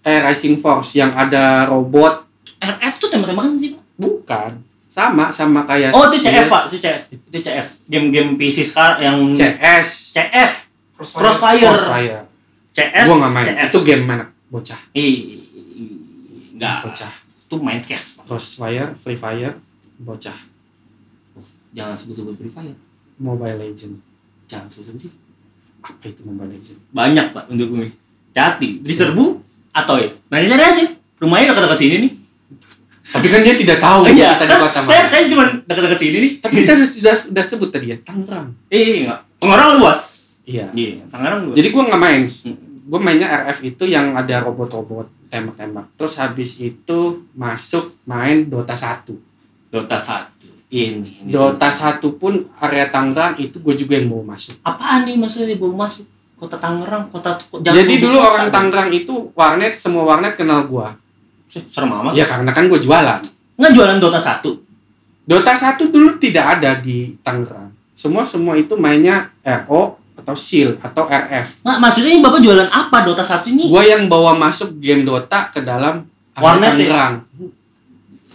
A: eh Rising Force yang ada robot
B: RF tuh tembak-tembakan sih pak
A: bukan sama sama kayak
B: oh itu
A: Seal.
B: CF pak itu CF itu CF game-game PC sekarang yang
A: CS
B: CF Crossfire.
A: Crossfire
B: CS
A: gua nggak main
B: CF
A: itu game mana bocah
B: Ih, enggak
A: bocah
B: itu main cash
A: Crossfire Free Fire bocah
B: Jangan sebut-sebut Free Fire.
A: Mobile Legend.
B: Jangan sebut-sebut itu.
A: Apa itu Mobile Legend?
B: <laughs> Banyak pak untuk gue. Hati, diserbu atau ya? Nanti cari aja. Rumahnya dekat-dekat sini nih.
A: Tapi kan dia tidak tahu
B: Oh, iya,
A: tadi
B: kan
A: kota
B: saya
A: mana.
B: saya cuma dekat-dekat sini nih.
A: Tapi kita sudah, sudah, sudah sebut tadi ya, Tangerang.
B: Eh, iya, enggak. Tangerang luas.
A: Iya.
B: Iya, Tangerang luas.
A: Jadi gue nggak main.
B: Hmm.
A: Gue mainnya RF itu yang ada robot-robot tembak-tembak. Terus habis itu masuk main Dota 1.
B: Dota 1. Ini, ini.
A: Dota 1 pun area Tangerang itu gue juga yang mau masuk.
B: Apaan nih maksudnya gue masuk kota Tangerang, kota
A: Jadi
B: gitu?
A: dulu orang Tangerang itu warnet semua warnet kenal gue.
B: serem amat.
A: Ya karena kan gue jualan.
B: Nggak jualan Dota 1.
A: Dota 1 dulu tidak ada di Tangerang. Semua semua itu mainnya RO atau Shield atau RF.
B: Nggak, maksudnya ini Bapak jualan apa Dota 1 ini?
A: Gue yang bawa masuk game Dota ke dalam area
B: Warnet ya?
A: Tangerang.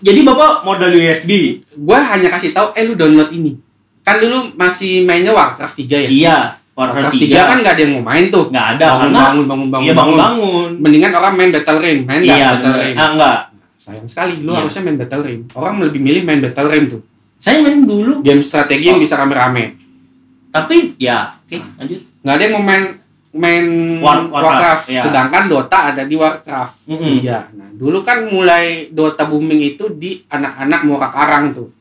B: Jadi Bapak modal USB.
A: Gue hanya kasih tahu, eh lu download ini. Kan dulu masih mainnya Warcraft 3 ya.
B: Iya,
A: Warcraft
B: Warcraft
A: 3 kan
B: 3.
A: nggak ada yang mau main tuh.
B: Nggak ada
A: Bangun
B: karena
A: bangun bangun bangun.
B: iya
A: bangun.
B: bangun-bangun.
A: Mendingan orang main Battle Ring, main nggak
B: Iya,
A: Battle
B: bener.
A: Ring.
B: Ah, enggak.
A: Sayang sekali, lu
B: Iya.
A: harusnya main Battle Ring. Orang lebih milih main Battle Ring tuh.
B: Saya main dulu,
A: Game strategi
B: Oh.
A: yang bisa rame-rame.
B: tapi ya, oke, lanjut.
A: nggak ada yang mau main main
B: War-
A: Warcraft,
B: Warcraft, iya. Hmm.
A: sedangkan Dota ada di Warcraft
B: Mm-mm.
A: Iya. nah dulu kan mulai Dota booming itu di anak-anak muka karang tuh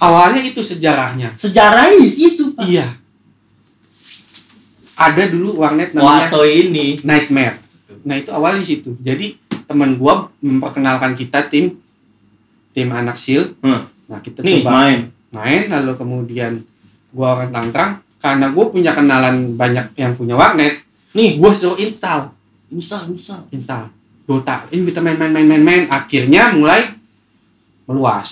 A: awalnya itu sejarahnya
B: Sejarahnya di situ, Pak.
A: iya ada dulu warnet namanya
B: Wato ini.
A: Nightmare nah itu awalnya di situ jadi teman gua memperkenalkan kita tim tim anak shield
B: Hmm.
A: nah kita
B: Nih,
A: coba
B: main.
A: main lalu kemudian gua orang Tangerang karena gue punya kenalan banyak yang punya warnet
B: Nih,
A: gue suruh install
B: usah, usah.
A: install Dota ini kita main main main main main akhirnya mulai meluas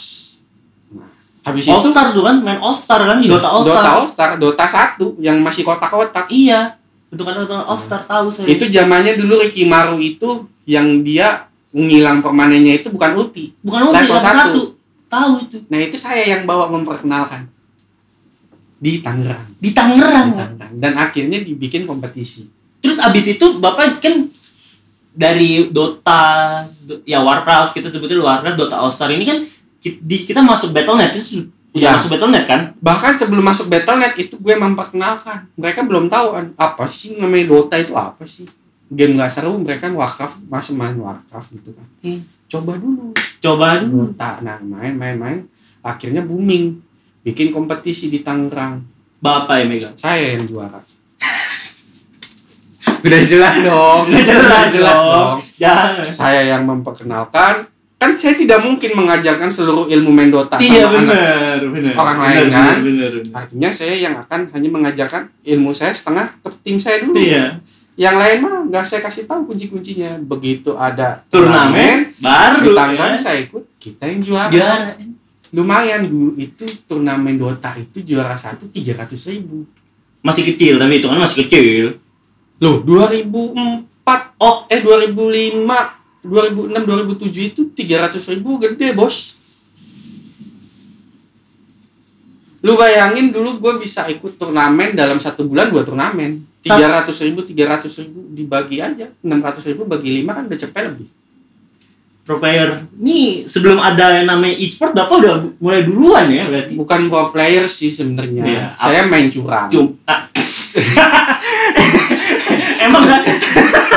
A: nah, habis
B: All
A: itu
B: Star tuh kan, main All Star kan, di Dota All Star.
A: Dota All Star Dota satu yang masih kotak-kotak
B: Iya, bentukan Dota All Star tahu saya.
A: itu zamannya dulu Ricky Maru itu yang dia ngilang permanennya itu bukan ulti
B: bukan ulti
A: level
B: level
A: satu.
B: satu. Tahu itu
A: nah itu saya yang bawa memperkenalkan di Tangerang Di
B: di Tangerang. Pak.
A: Tangerang. dan akhirnya dibikin kompetisi
B: Terus abis itu bapak kan dari Dota, do- ya Warcraft kita sebutnya Warcraft, Dota All Star ini kan ki- di kita masuk Battle.net itu
A: Iya.
B: udah masuk Battle.net kan?
A: bahkan sebelum masuk Battle.net itu gue memperkenalkan mereka belum tahu an- apa sih namanya Dota itu apa sih game nggak seru mereka Warcraft masih main Warcraft gitu kan
B: Hmm.
A: coba dulu
B: Coba dulu.
A: Dota nah main main main akhirnya booming bikin kompetisi di Tangerang
B: bapak yang megang.
A: saya yang juara udah jelas dong
B: Jelas, dong.
A: Iya,
B: Jangan.
A: saya yang memperkenalkan kan saya tidak mungkin mengajarkan seluruh ilmu main Dota
B: Iya
A: sama anak
B: benar, benar.
A: Orang
B: Benar,
A: lain, kan?
B: benar, benar.
A: Artinya saya yang akan hanya mengajarkan ilmu saya setengah ke tim saya dulu.
B: Iya.
A: Yang lain mah nggak saya kasih tahu kunci-kuncinya. Begitu ada
B: Turnamen
A: turnamen, di
B: baru.
A: Tangerang
B: ya. Iya.
A: saya ikut, kita yang juara.
B: Juara.
A: Lumayan dulu itu turnamen Dota itu juara satu 300 ribu.
B: Masih kecil tapi itu kan masih kecil.
A: Loh, 2004,
B: Oh,
A: eh 2005, 2006, 2007 itu 300 ribu gede bos. Lu bayangin dulu gue bisa ikut turnamen dalam satu bulan dua turnamen. 300 ribu, 300 ribu dibagi aja. 600 ribu bagi 5 kan udah cepet lebih.
B: pro player. Nih sebelum ada yang namanya e-sport, bapak udah mulai duluan ya berarti.
A: Bukan pro player sih sebenarnya.
B: Iya.
A: Saya main curang.
B: Cum- ah. <laughs> Emang nggak
A: <laughs>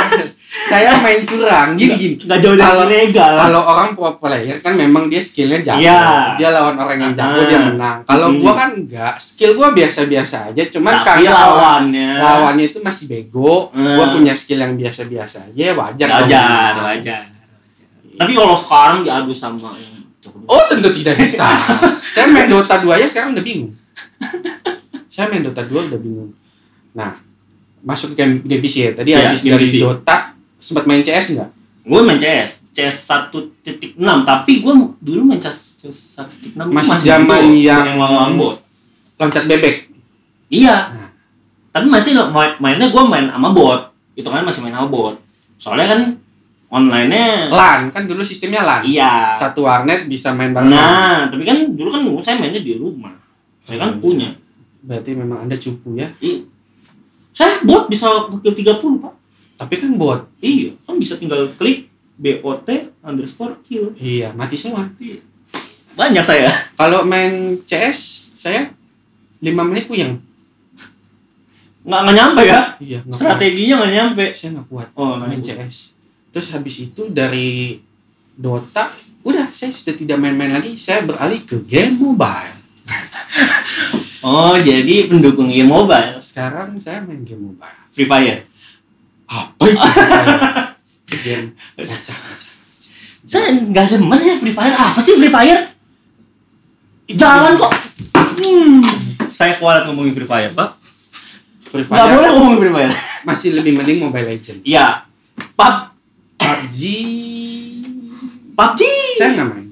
A: Saya main curang. Gini-gini.
B: nggak jauh dari
A: Kalau-
B: ilegal.
A: Kalau orang pro player kan memang dia skillnya jago.
B: Iya.
A: Dia lawan orang yang jago
B: Ah.
A: dia menang. Kalau
B: Hmm.
A: gua kan enggak. Skill gua biasa-biasa aja. Cuman
B: Tapi
A: karena orang-
B: lawannya.
A: lawannya itu masih bego.
B: Hmm.
A: Gua punya skill yang biasa-biasa aja. Wajar. dong.
B: Wajar, wajar. Tapi kalau sekarang diadu sama yang cukup.
A: Oh tentu tidak bisa.
B: <laughs>
A: Saya main Dota 2 aja sekarang udah bingung. Saya main Dota 2 udah bingung. Nah masuk ke game, game PC ya. Tadi
B: Iya,
A: habis
B: game
A: dari
B: PC.
A: Dota sempat main CS nggak?
B: Gue main CS, CS 1.6, tapi gue dulu main CS 1.6 itu
A: Masih zaman
B: dulu,
A: yang-
B: yang lawan bot.
A: Loncat bebek.
B: Iya.
A: Nah.
B: Tapi masih lo- main- mainnya gue main sama bot. Itu kan masih main sama bot. Soalnya kan online-nya
A: LAN kan dulu sistemnya LAN.
B: iya.
A: Satu warnet bisa main bareng.
B: Nah, tapi kan dulu kan saya mainnya di rumah. Saya kan punya.
A: Berarti memang Anda cupu ya.
B: I- Saya bot bisa pukul 30, Pak.
A: Tapi kan bot.
B: Iya, kan bisa tinggal klik BOT underscore kill.
A: Iya, mati semua.
B: Iya. Banyak saya.
A: Kalau main CS saya 5 menit puyeng.
B: Nggak, nggak nyampe ya.
A: Iya, nggak kuat.
B: Strateginya nggak nyampe.
A: Saya nggak kuat
B: Oh,
A: main
B: nggak
A: CS. Terus habis itu dari Dota, udah saya sudah tidak main-main lagi. Saya beralih ke game mobile.
B: Oh, jadi pendukung game mobile.
A: Sekarang saya main game mobile.
B: Free Fire.
A: Apa itu?
B: <laughs>
A: game bocah bocah.
B: Saya nggak demen sih Free Fire. Apa sih Free Fire? Jangan kok. Hmm. Saya kualat ngomongin Free Fire, Pak.
A: Free
B: Nggak
A: Fire
B: boleh ngomongin Free Fire.
A: masih lebih mending Mobile Legend.
B: Iya. Pub
A: PUBG
B: PUBG.
A: saya nggak main.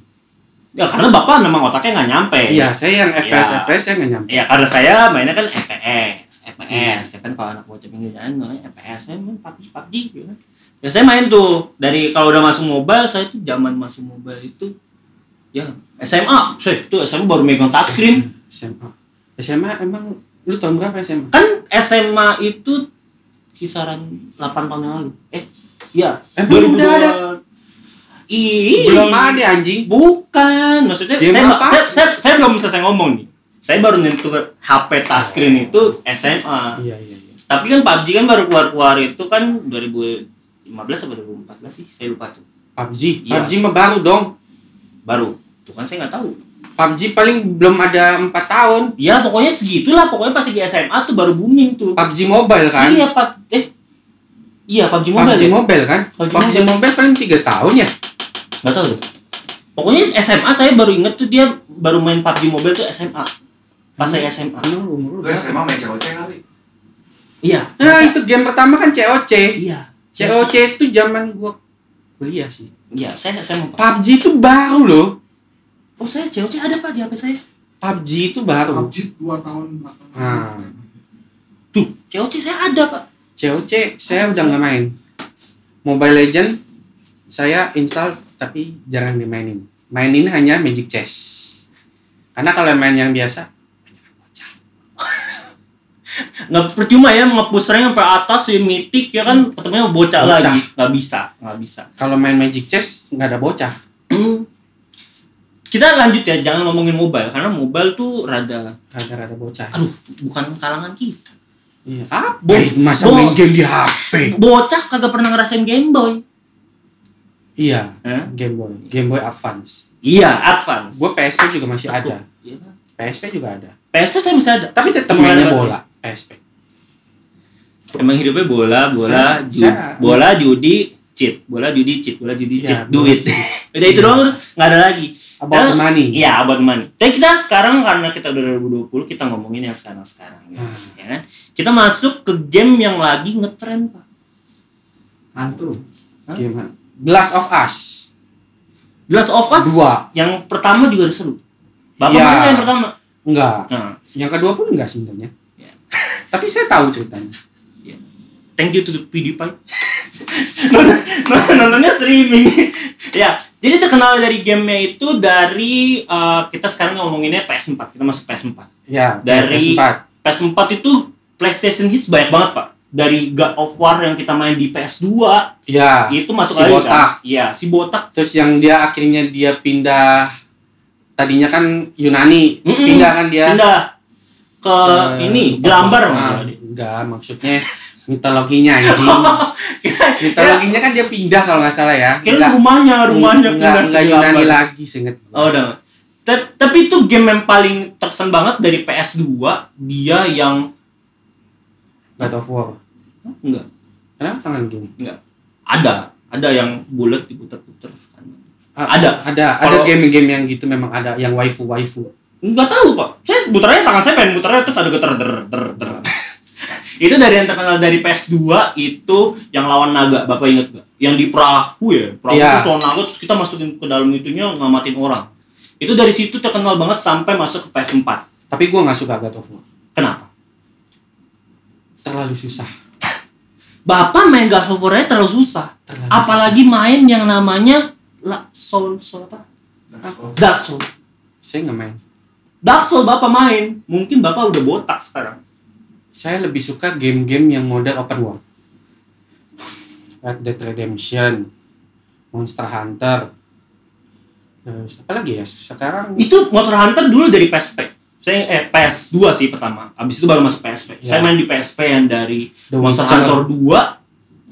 B: Ya karena Bapak memang otaknya nggak nyampe.
A: Iya, saya yang FPS
B: Iya.
A: FPS saya nggak nyampe.
B: Ya karena saya mainnya kan FPS,
A: Iya.
B: FPS. Ya kan kalau anak bocah pinggir jalan namanya FPS, saya main PUBG, PUBG gitu kan. Ya saya main tuh dari kalau udah masuk mobile, saya tuh zaman masuk mobile itu ya SMA, saya tuh SMA baru megang touchscreen.
A: SMA. SMA emang lu tahun berapa SMA?
B: Kan SMA itu kisaran 8 tahun yang lalu. Eh, iya.
A: Emang udah ada?
B: Ih,
A: Belum ada anjing.
B: Bukan, maksudnya
A: Game
B: saya,
A: apa?
B: saya, saya, saya belum selesai ngomong nih. Saya baru nyentuh HP touchscreen itu SMA.
A: Iya iya iya.
B: Tapi kan PUBG kan baru keluar-keluar itu kan 2015 atau 2014 sih, saya lupa tuh.
A: PUBG,
B: Iya.
A: PUBG mah baru dong.
B: Baru. Tuh kan saya nggak tahu.
A: PUBG paling belum ada empat tahun.
B: Ya pokoknya segitulah, pokoknya pasti di SMA tuh baru booming tuh.
A: PUBG Mobile kan?
B: Iya, Pak. Eh. Iya, PUBG Mobile.
A: PUBG
B: ya?
A: Mobile kan?
B: PUBG
A: PUBG, Mobile. paling tiga tahun ya?
B: Nggak tahu deh. Pokoknya SMA saya baru inget tuh dia baru main PUBG Mobile tuh SMA. Pas saya SMA.
A: Emang lu umur lu
C: Gue
A: berapa?
C: SMA main COC kali.
B: Iya.
A: Nah itu game pertama kan COC.
B: Iya.
A: COC itu zaman gua kuliah sih.
B: Iya, saya SMA. Pak.
A: PUBG itu baru loh.
B: Oh, saya COC ada Pak di HP saya.
A: PUBG itu baru.
C: PUBG 2 tahun belakangan.
A: Ah.
B: Tuh, COC saya ada Pak.
A: COC saya udah nggak main. Mobile Legend saya install tapi jarang dimainin. Mainin hanya Magic Chess. Karena kalau main yang biasa,
B: Nggak percuma ya ngepush rank sampai atas di mitik ya kan ketemunya
A: Bocah.
B: bocah, lagi. Nggak bisa, nggak bisa. <clears throat>
A: kalau main Magic Chess nggak ada bocah.
B: Kita lanjut ya, jangan ngomongin mobile karena mobile tuh rada
A: Kagak ada bocah.
B: aduh, bukan kalangan kita.
A: Iya. Apa itu masa
B: Bo-
A: main game di HP?
B: Bocah kagak pernah ngerasain Game Boy.
A: Iya,
B: Hah?
A: Game Boy, Game Boy Advance.
B: Iya, advance.
A: Gue PSP juga masih ada.
B: Iya, Pak.
A: PSP juga ada.
B: PSP saya masih ada.
A: Tapi tetap
B: Gimana,
A: mainnya
B: Pak?
A: bola, PSP.
B: Emang hidupnya bola,
A: Saya-
B: bola, ju-
A: saya-
B: bola, judi, cheat, bola, judi, cheat, bola, judi, Iya. cheat,
A: Iya,
B: duit. Udah itu doang, nggak ada lagi.
A: About
B: Karena-
A: money.
B: Iya, about money. Tapi kita sekarang karena kita udah 2020, kita ngomongin yang sekarang-sekarang. Ya.
A: Hmm.
B: ya kan? Kita masuk ke game yang lagi ngetren, Pak.
C: Hantu.
A: Gimana? Glass of Us.
B: The Last of Us.
A: Dua.
B: Yang pertama juga seru. Bapak
A: Iya.
B: mana yang pertama?
A: Enggak.
B: Nah,
A: Yang kedua pun enggak sebenarnya.
B: Iya.
A: <laughs> Tapi saya tahu ceritanya.
B: thank you to the PewDiePie. <laughs> Nonton- nonton- Nontonnya streaming. <laughs> ya, jadi terkenal dari gamenya itu dari eh, kita sekarang ngomonginnya PS4. Kita masuk PS4.
A: Ya,
B: Dari-
A: PS4.
B: PS4 itu PlayStation hits banyak banget pak. Dari God of War yang kita main di PS2
A: Ya.
B: itu masuk
A: si
B: lagi
A: botak.
B: kan? Iya, si botak.
A: Terus yang dia akhirnya dia pindah tadinya kan Yunani,
B: Mm-mm.
A: pindah kan dia
B: Pindah ke
A: Eh, bukan.
B: ini Jelambar.
A: Ah,
B: maksudnya.
A: enggak maksudnya mitologinya
B: <laughs>
A: anjing
B: Ya. Kira-
A: mitologinya kan dia pindah kalau nggak salah ya
B: Kira rumahnya, rumahnya
A: enggak,
B: pindah ke
A: enggak
B: Jelambar.
A: Yunani lagi seinget gua.
B: Oh, udah. Ta- Tapi itu game yang paling terkesan banget dari PS2 dia yang
A: God of War
B: enggak
A: kenapa tangan gini
B: ada ada yang kan. bulat diputar-putar
A: Ah,
B: Ada.
A: ada ada
B: Kalau-
A: game-game yang gitu memang ada yang waifu waifu
B: Nggak tahu pak. Saya putarnya tangan saya pengen putarnya terus ada getar der der
A: <laughs>
B: der. itu dari yang terkenal dari PS2 itu yang lawan naga, bapak inget gak? Yang di perahu ya, perahu
A: Iya.
B: itu soal naga terus kita masukin ke dalam itunya ngamatin orang. Itu dari situ terkenal banget sampai masuk ke PS4.
A: tapi gua nggak suka God of War
B: Kenapa?
A: terlalu susah
B: Bapak main God of War-nya terlalu susah.
A: terlalu
B: Apalagi main yang namanya La, Soul Soul apa?
C: Dark Souls.
B: Dark Soul.
A: susah. saya nggak main
B: Dark Soul bapak main, mungkin bapak udah botak sekarang.
A: saya lebih suka game-game yang model open world Red Dead Redemption Monster Hunter Terus, apa lagi ya sekarang
B: Itu Monster Hunter dulu dari PSP. Saya eh PS2 sih pertama. Abis itu baru masuk PSP.
A: Ya.
B: Saya main di PSP yang dari
A: The
B: Monster
A: Witcher.
B: Hunter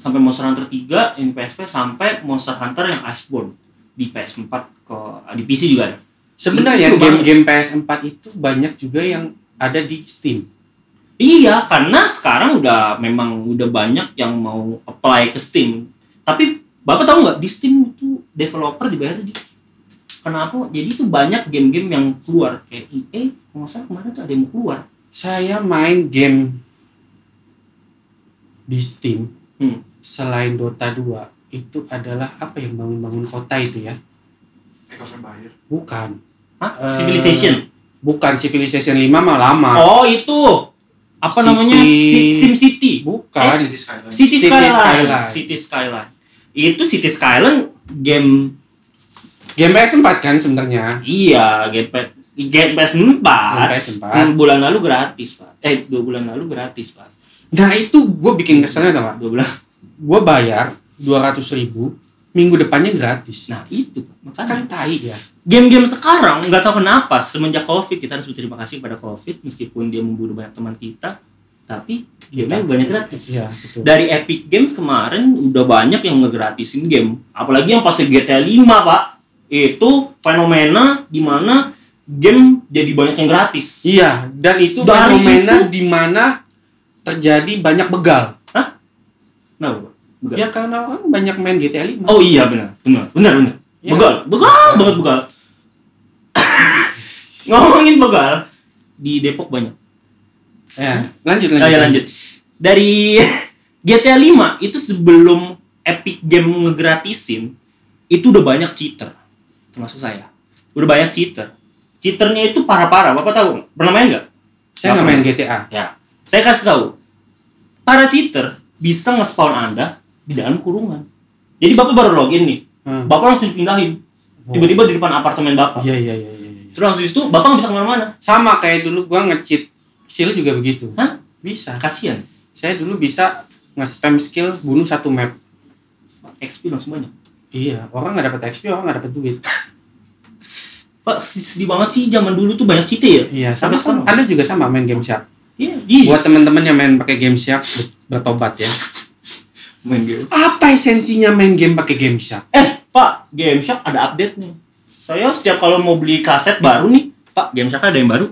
B: 2 sampai Monster Hunter 3 yang PSP sampai Monster Hunter yang Iceborne di PS4 ke eh, di PC juga ada.
A: sebenarnya
B: Itu banyak.
A: game-game PS4 itu banyak juga yang ada di Steam
B: Iya, karena sekarang udah memang udah banyak yang mau apply ke Steam. Tapi Bapak tahu nggak di Steam itu developer dibayar dikit. Kenapa? Jadi itu banyak game-game yang keluar kayak EA, kalau nggak salah kemarin tuh ada yang keluar.
A: saya main game di Steam
B: Hmm.
A: selain Dota 2 itu adalah apa yang bangun-bangun kota itu ya
C: Echo Vampire.
A: bukan
B: Hah?
A: Eh,
B: Civilization.
A: bukan Civilization 5 mah lama
B: Oh, itu
A: Ah.
B: apa
A: City-
B: namanya? Si- Sim City.
A: bukan
C: City Skyline.
B: City,
A: City
B: Skyline.
A: Skyline.
B: City Skyline. Itu City Skyline game
A: game PS4 kan sebenarnya
B: iya, game P-
A: game
B: game PS4.
A: PS4
B: bulan lalu gratis, Pak. Eh, dua bulan lalu gratis, Pak.
A: nah itu gue bikin keselnya tau gak
B: Dua bulan.
A: gue bayar 200 ribu minggu depannya gratis
B: Nah, itu, Pak. Makanya
A: kan tai ya
B: game-game sekarang nggak tahu kenapa semenjak Covid kita harus berterima kasih pada Covid meskipun dia memburu banyak teman kita, tapi game-nya banyak gratis.
A: gitu. Iya, betul.
B: Dari Epic Games kemarin udah banyak yang ngegratisin game. Apalagi yang pas GTA 5, Pak. Itu fenomena di mana game jadi banyak yang gratis.
A: Iya, dan itu
B: Dari
A: fenomena
B: itu-
A: di mana terjadi banyak begal.
B: Nah, begal.
A: Ya karena orang banyak main GTA 5.
B: Oh iya benar, benar, benar, benar.
A: Iya.
B: Begal, begal banget begal. <laughs> Ngomongin begal di Depok banyak.
A: Ya, lanjut lanjut.
B: Oh ya lanjut. Dari <laughs> GTA 5 itu sebelum Epic Game ngegratisin itu udah banyak cheater. Termasuk saya. Udah banyak cheater. Cheaternya itu parah-parah. Bapak tahu? nggak? Pernah main nggak?
A: Saya nggak main GTA.
B: Ya. Saya kasih tahu. Para cheater bisa nge-spawn Anda di dalam kurungan. Jadi Bapak baru login nih.
A: Hmm.
B: Bapak langsung dipindahin. Tiba-tiba di depan apartemen Bapak.
A: Iya iya iya iya. iya.
B: Terus habis itu Bapak nggak bisa kemana-mana.
A: Sama kayak dulu gua nge-cheat skill juga begitu.
B: Hah?
A: Bisa.
B: Kasian.
A: Saya dulu bisa nge-spam skill bunuh satu map.
B: XP langsung banyak.
A: Iya, orang nggak dapat XP, orang nggak dapat duit.
B: Pak, sedih banget sih zaman dulu tuh banyak cheater ya.
A: Iya,
B: Sampai
A: sama
B: sekarang.
A: Anda juga sama main game shark.
B: Iya, iya.
A: Buat teman-teman yang main pakai game shark ber- bertobat ya.
B: main game.
A: Apa esensinya main game pakai game shark?
B: Eh, Pak, Game Shark ada update nih. Saya setiap kalau mau beli kaset baru nih, Pak, Game Shark ada yang baru.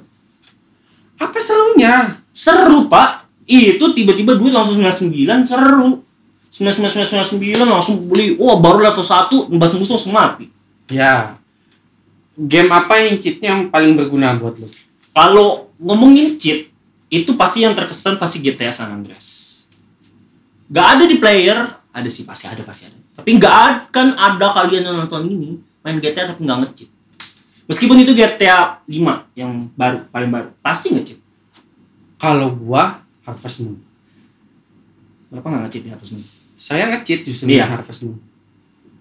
A: Apa serunya?
B: Seru, Pak. Itu tiba-tiba duit langsung 99, seru. 9999 langsung beli. Wah, baru level 1, nembas musuh langsung mati.
A: Ya. Game apa yang cheatnya yang paling berguna buat lo?
B: Kalau ngomongin cheat, itu pasti yang terkesan pasti GTA San Andreas. Gak ada di player, ada sih pasti ada pasti ada. Tapi nggak akan ada kalian yang nonton ini main GTA tapi nggak ngecheat. Meskipun itu GTA 5 yang baru paling baru pasti ngecheat.
A: Kalau gua Harvest Moon.
B: Berapa nggak ngecheat di Harvest Moon?
A: Saya nge-cheat justru
B: Iya.
A: main Harvest Moon.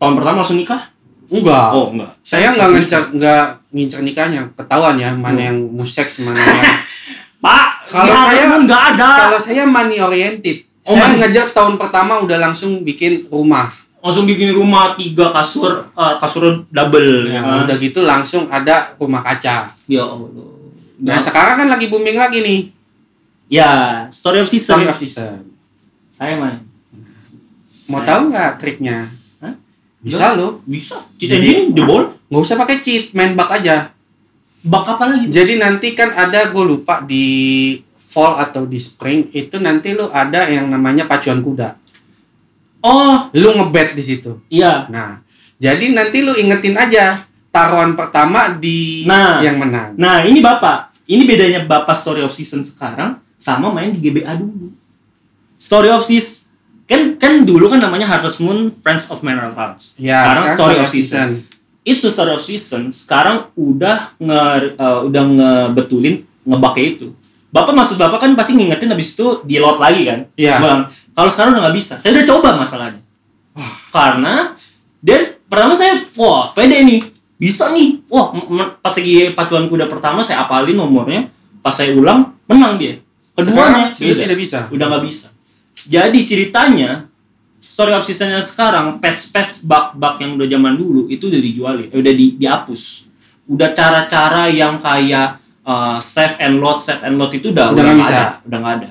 B: Tahun pertama langsung nikah?
A: Enggak.
B: Oh enggak.
A: Saya nggak ngincer nggak ngincer nikahnya, ketahuan ya
B: Oh.
A: mana yang museks mana
B: <laughs>
A: yang.
B: Pak,
A: Kalau
B: di Harvest
A: saya-
B: Moon nggak ada.
A: Kalau saya money oriented.
B: Oh,
A: saya
B: money.
A: ngejak tahun pertama udah langsung bikin rumah.
B: Langsung bikin rumah tiga kasur, eh, kasur double.
A: Yang
B: kan?
A: udah gitu langsung ada rumah kaca.
B: Ya Allah.
A: Nah, sekarang kan lagi booming lagi nih.
B: ya, story of season.
A: Story of Season.
B: Saya main.
A: Mau
B: Saya-
A: tahu nggak triknya?
B: Hah?
A: Bisa lo.
B: Bisa.
A: Jadi-
B: Cheat engine, jebol.
A: Nggak usah pakai cheat, main bak aja.
B: Bak apa lagi?
A: Jadi nanti kan ada gue lupa di fall atau di spring itu nanti lu ada yang namanya pacuan kuda.
B: Oh,
A: Lu ngebet di situ.
B: iya.
A: Nah, jadi nanti lu ingetin aja taruhan pertama di
B: Nah.
A: yang menang.
B: Nah, ini Bapak. Ini bedanya Bapak Story of Season sekarang sama main di GBA dulu. Story of Season kan kan dulu kan namanya Harvest Moon Friends of Mineral Towns.
A: Ya,
B: Iya, sekarang, Story of Season. Itu Story of Season sekarang udah nge eh, udah ngebetulin ngebaknya itu. Bapak maksud Bapak kan pasti ngingetin habis itu di load lagi kan?
A: Iya.
B: Bang, kalau sekarang udah nggak bisa. Saya udah coba masalahnya. Karena dia pertama saya wah pede nih bisa nih wah m- m- pas lagi pacuan kuda pertama saya apalin nomornya pas saya ulang menang dia
A: Sekarang
B: keduanya Iya.
A: sudah
B: beda.
A: tidak bisa.
B: udah nggak bisa jadi ceritanya story of seasonnya sekarang patch patch bug bug yang udah zaman dulu itu udah dijualin eh, udah di, dihapus udah cara-cara yang kayak eh, save and load save and load itu
A: Udah
B: udah udah
A: nggak
B: nggak
A: bisa.
B: ada udah nggak ada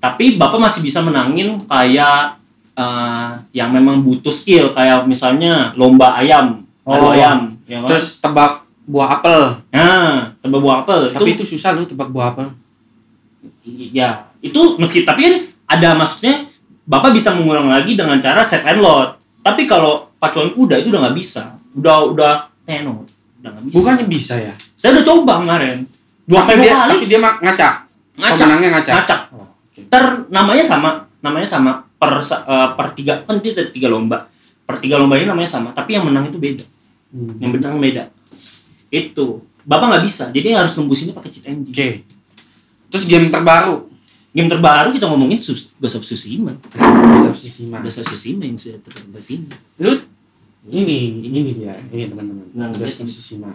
B: tapi bapak masih bisa menangin kayak eh, yang memang butuh skill kayak misalnya lomba ayam adu
A: Oh.
B: ayam ya kan?
A: Terus tebak buah apel.
B: nah tebak buah apel
A: Tapi itu susah lu tebak buah apel.
B: Ya, itu meski tapi kan ada maksudnya Bapak bisa mengulang lagi dengan cara save and load. Tapi kalau pacuan kuda itu udah nggak bisa. Udah udah tenor, udah nggak bisa.
A: Bukannya bisa ya?
B: Saya udah coba kemarin. Dua
A: Tapi
B: kali
A: dia,
B: dua kali
A: tapi dia ma- ngacak.
B: Ngacak.
A: Pemenangnya ngacak.
B: ngacak.
A: Oh, oke.
B: Ter namanya sama, namanya sama per sa- eh, per tiga kan itu ada tiga lomba. Per tiga lomba ini namanya sama, tapi yang menang itu beda.
A: Hmm.
B: Yang menang beda. Itu. Bapak nggak bisa. Jadi harus nembusinnya pakai cheat engine.
A: Oke. Terus game terbaru.
B: Game terbaru kita ngomongin sus, Ghost of Tsushima.
A: Ghost of Tsushima.
B: Ghost of Tsushima yang sudah terbahas ini.
A: Lu ini ini dia ini teman-teman.
B: Nah,
A: Ghost of
B: ini.
A: Tsushima.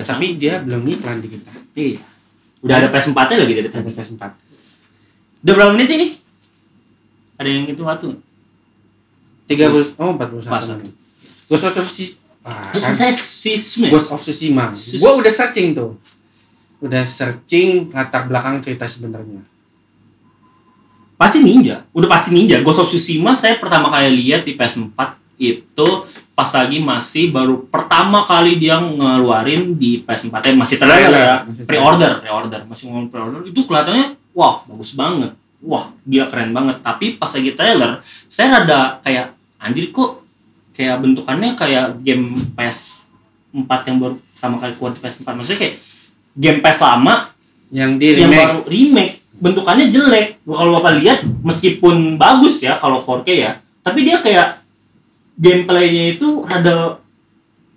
B: Gak
A: Tapi dia belum iklan di kita.
B: Iya. Udah ada PS4 nya lagi dari tadi.
A: Tapi sempat.
B: Udah berapa menit sih ini? Ada yang itu waktu.
A: Tiga puluh oh empat puluh satu.
B: 41.
A: Ghost of Tsushima. Ah,
B: Terus
A: kan.
B: saya sisme.
A: Ghost of Tsushima.
B: Sus-
A: Gua udah searching tuh. Udah searching latar belakang cerita sebenarnya.
B: Pasti ninja. Udah pasti ninja. Ghost of Tsushima saya pertama kali lihat di PS4 itu pas lagi masih baru pertama kali dia ngeluarin di PS4 eh, masih trailer
A: Trailer,
B: ya
A: masih
B: pre-order pre-order masih ngomong pre-order itu kelihatannya wah bagus banget wah dia keren banget tapi pas lagi trailer saya rada kayak anjir kok kayak bentukannya kayak game PS4 yang baru pertama kali keluar di PS4 maksudnya kayak game PS lama
A: Yang di
B: yang
A: Iya, remake.
B: baru remake bentukannya jelek kalau bapak lihat meskipun bagus ya kalau 4K ya tapi dia kayak gameplaynya itu ada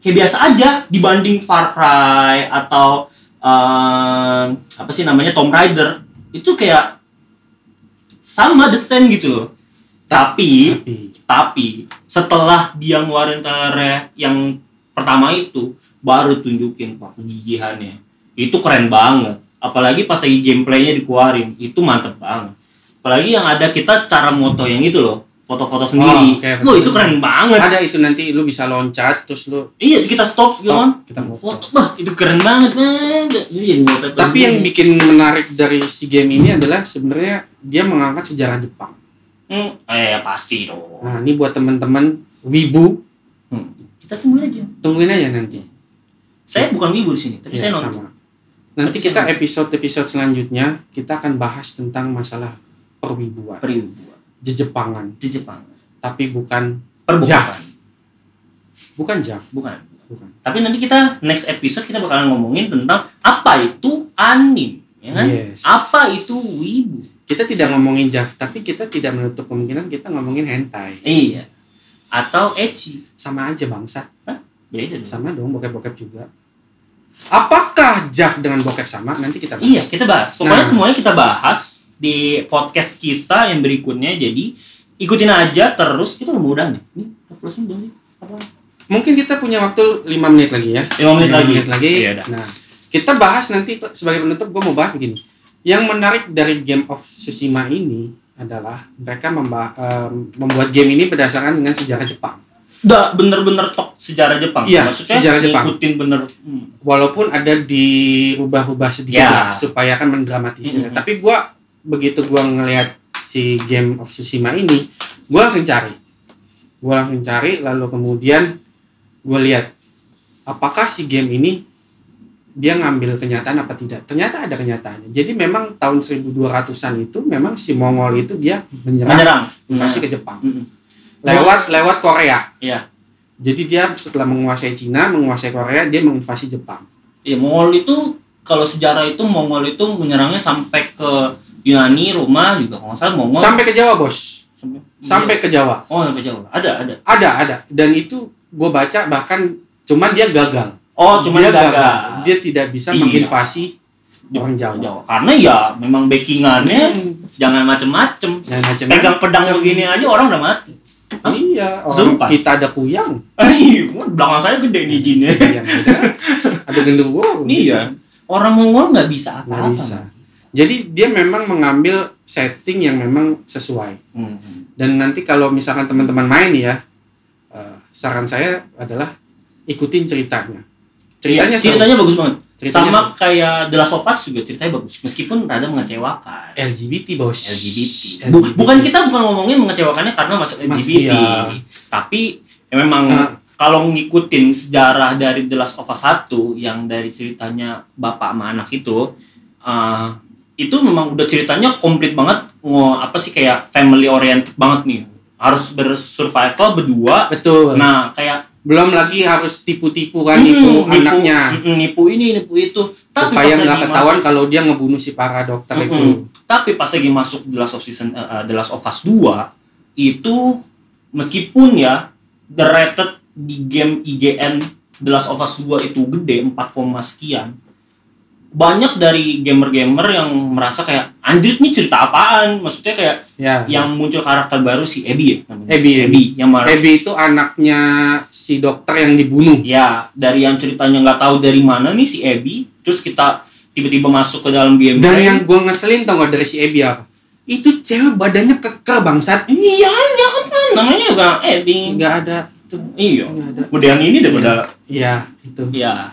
B: kayak biasa aja dibanding Far Cry atau eh, apa sih namanya Tomb Raider itu kayak sama the same gitu loh tapi
A: Tapi
B: tapi setelah dia ngeluarin trailer yang pertama itu baru tunjukin pak kegigihannya itu keren banget apalagi pas lagi gameplaynya dikeluarin itu mantep banget apalagi yang ada kita cara moto yang itu loh foto-foto sendiri
A: Oh, oke.
B: Wah, itu keren banget
A: ada itu nanti lu bisa loncat terus lu
B: iya kita stop, gitu kan
A: Stop, kita foto.
B: foto bah itu keren banget man. Itu jadi moto
A: Tapi yang bikin menarik dari si game ini adalah sebenarnya dia mengangkat sejarah Jepang.
B: Hmm, eh pasti dong
A: Nah, ini buat teman-teman wibu,
B: Hmm, kita tunggu aja
A: tungguin aja nanti.
B: saya bukan wibu di sini tapi
A: Iya,
B: saya nonton
A: sama. Nanti
B: Tapi
A: kita
B: saya
A: episode-episode selanjutnya kita akan bahas tentang masalah perwibuan,
B: peribuan
A: jejepangan,
B: di Jepang
A: tapi bukan
B: perbuatan
A: Jaf. bukan jaf,
B: bukan
A: bukan.
B: Tapi nanti kita next episode kita bakalan ngomongin tentang apa itu anim, ya kan?
A: Yes.
B: Apa itu wibu?
A: Kita tidak ngomongin jaf, tapi kita tidak menutup kemungkinan kita ngomongin hentai.
B: Iya. Atau ecchi.
A: Sama aja bangsa,
B: Beda dong.
A: sama dong bokep-bokep juga. Apakah jaf dengan bokep sama? Nanti kita bahas.
B: Iya, kita bahas. Pokoknya
A: Nah.
B: semuanya kita bahas di podcast kita yang berikutnya. Jadi ikutin aja terus kita udah mau udah nih. Ini closing dong nih. Apa?
A: Mungkin kita punya waktu 5 menit lagi ya.
B: 5 menit
A: Lima
B: lagi.
A: Menit lagi.
B: Iya, dah.
A: nah, kita bahas nanti t- sebagai penutup gue mau bahas begini. Yang menarik dari Game of Tsushima ini adalah mereka memba- em, membuat game ini berdasarkan dengan sejarah Jepang.
B: Udah bener-bener tok sejarah Jepang.
A: Iya,
B: Maksudnya
A: sejarah Jepang.
B: ngikutin bener. Hmm.
A: Walaupun ada dirubah-ubah sedikit
B: Ya.
A: lah, supaya kan mendramatisir.
B: Mhm.
A: Tapi gua begitu gua ngelihat si Game of Tsushima ini, gua langsung cari. Gua langsung cari lalu kemudian gua lihat apakah si game ini dia ngambil kenyataan apa tidak. Ternyata ada kenyataannya. Jadi memang tahun 1200-an itu memang si Mongol itu dia menyerang
B: Menyerang. Hmm.
A: invasi ke Jepang
B: Mm-mm.
A: lewat lewat Korea.
B: Iya.
A: Jadi dia setelah menguasai Cina, menguasai Korea, dia menginvasi Jepang.
B: Iya, Mongol itu kalau sejarah itu Mongol itu menyerangnya sampai ke Yunani, Roma juga kalau nggak salah Mongol
A: Sampai ke Jawa, Bos. sampai ke Jawa.
B: oh sampai Jawa ada ada
A: Ada, ada. Dan itu gue baca bahkan cuman dia gagal.
B: oh cuma
A: dia
B: gagal,
A: Dia tidak bisa
B: Iya.
A: menginvasi orang
B: Jawa.
A: Jawa.
B: karena ya memang backingannya
A: Hmm.
B: jangan macem-macem
A: Jangan macam-macam.
B: Iya. pegang pedang begini aja orang udah mati <laughs> Hah?
A: Iya, orang
B: Serupa.
A: kita ada
B: <laughs>
A: kuyang.
B: Ih, Iya, belakang saya gede nih jinnya
A: Kuyang ada. ada genderuwo.
B: iya orang Mongol nggak bisa
A: Nggak
B: apa-apa
A: bisa. Jadi dia memang mengambil setting yang memang sesuai.
B: Hmm.
A: Dan nanti kalau misalkan teman-teman main ya, eh, saran saya adalah ikutin ceritanya. Ceritanya
B: Iya,
A: seru.
B: ceritanya bagus banget.
A: Ceritanya
B: Sama kayak The Last of Us juga ceritanya bagus, meskipun rada mengecewakan.
A: LGBT bos.
B: LGBT. Bu- bukan kita bukan ngomongin mengecewakannya karena masuk
A: Mas-
B: LGBT,
A: iya.
B: tapi ya memang
A: Nah.
B: kalau ngikutin sejarah dari The Last of Us 1 yang dari ceritanya bapak sama anak itu eh, itu memang udah ceritanya komplit banget ngo apa sih kayak family oriented banget nih. Harus bersurvival berdua.
A: Betul.
B: Nah, kayak
A: Belum lagi harus tipu-tipu kan
B: Hmm,
A: nipu anaknya
B: mm, nipu ini, nipu itu. Tapi
A: supaya
B: pas
A: nggak
B: lagi Hmm.
A: ketahuan
B: masuk-
A: kalau dia ngebunuh si para dokter
B: Mm-mm.
A: itu.
B: Tapi pas lagi masuk The Last of Season eh, eh, The Last of Us 2 itu meskipun ya the rated di game IGN The Last of Us 2 itu gede 4, sekian. Banyak dari gamer-gamer yang merasa kayak anjir ini cerita apaan? Maksudnya kayak
A: Ya.
B: yang muncul karakter baru si Abby ya namanya.
A: Abby,
B: Abby yang mar-
A: Ebi itu anaknya si dokter yang dibunuh.
B: Ya, dari yang ceritanya nggak tahu dari mana nih si Abby, terus kita tiba-tiba masuk ke dalam gameplay.
A: Dan yang gua ngeselin tau gak dari si Ebi apa? Itu cewek badannya keker bangsat.
B: iya, iya kan namanya juga Abby.
A: Nggak ada itu.
B: Iya.
A: Nggak ada.
B: Udah yang ini daripada
A: Iya, itu.
B: ya.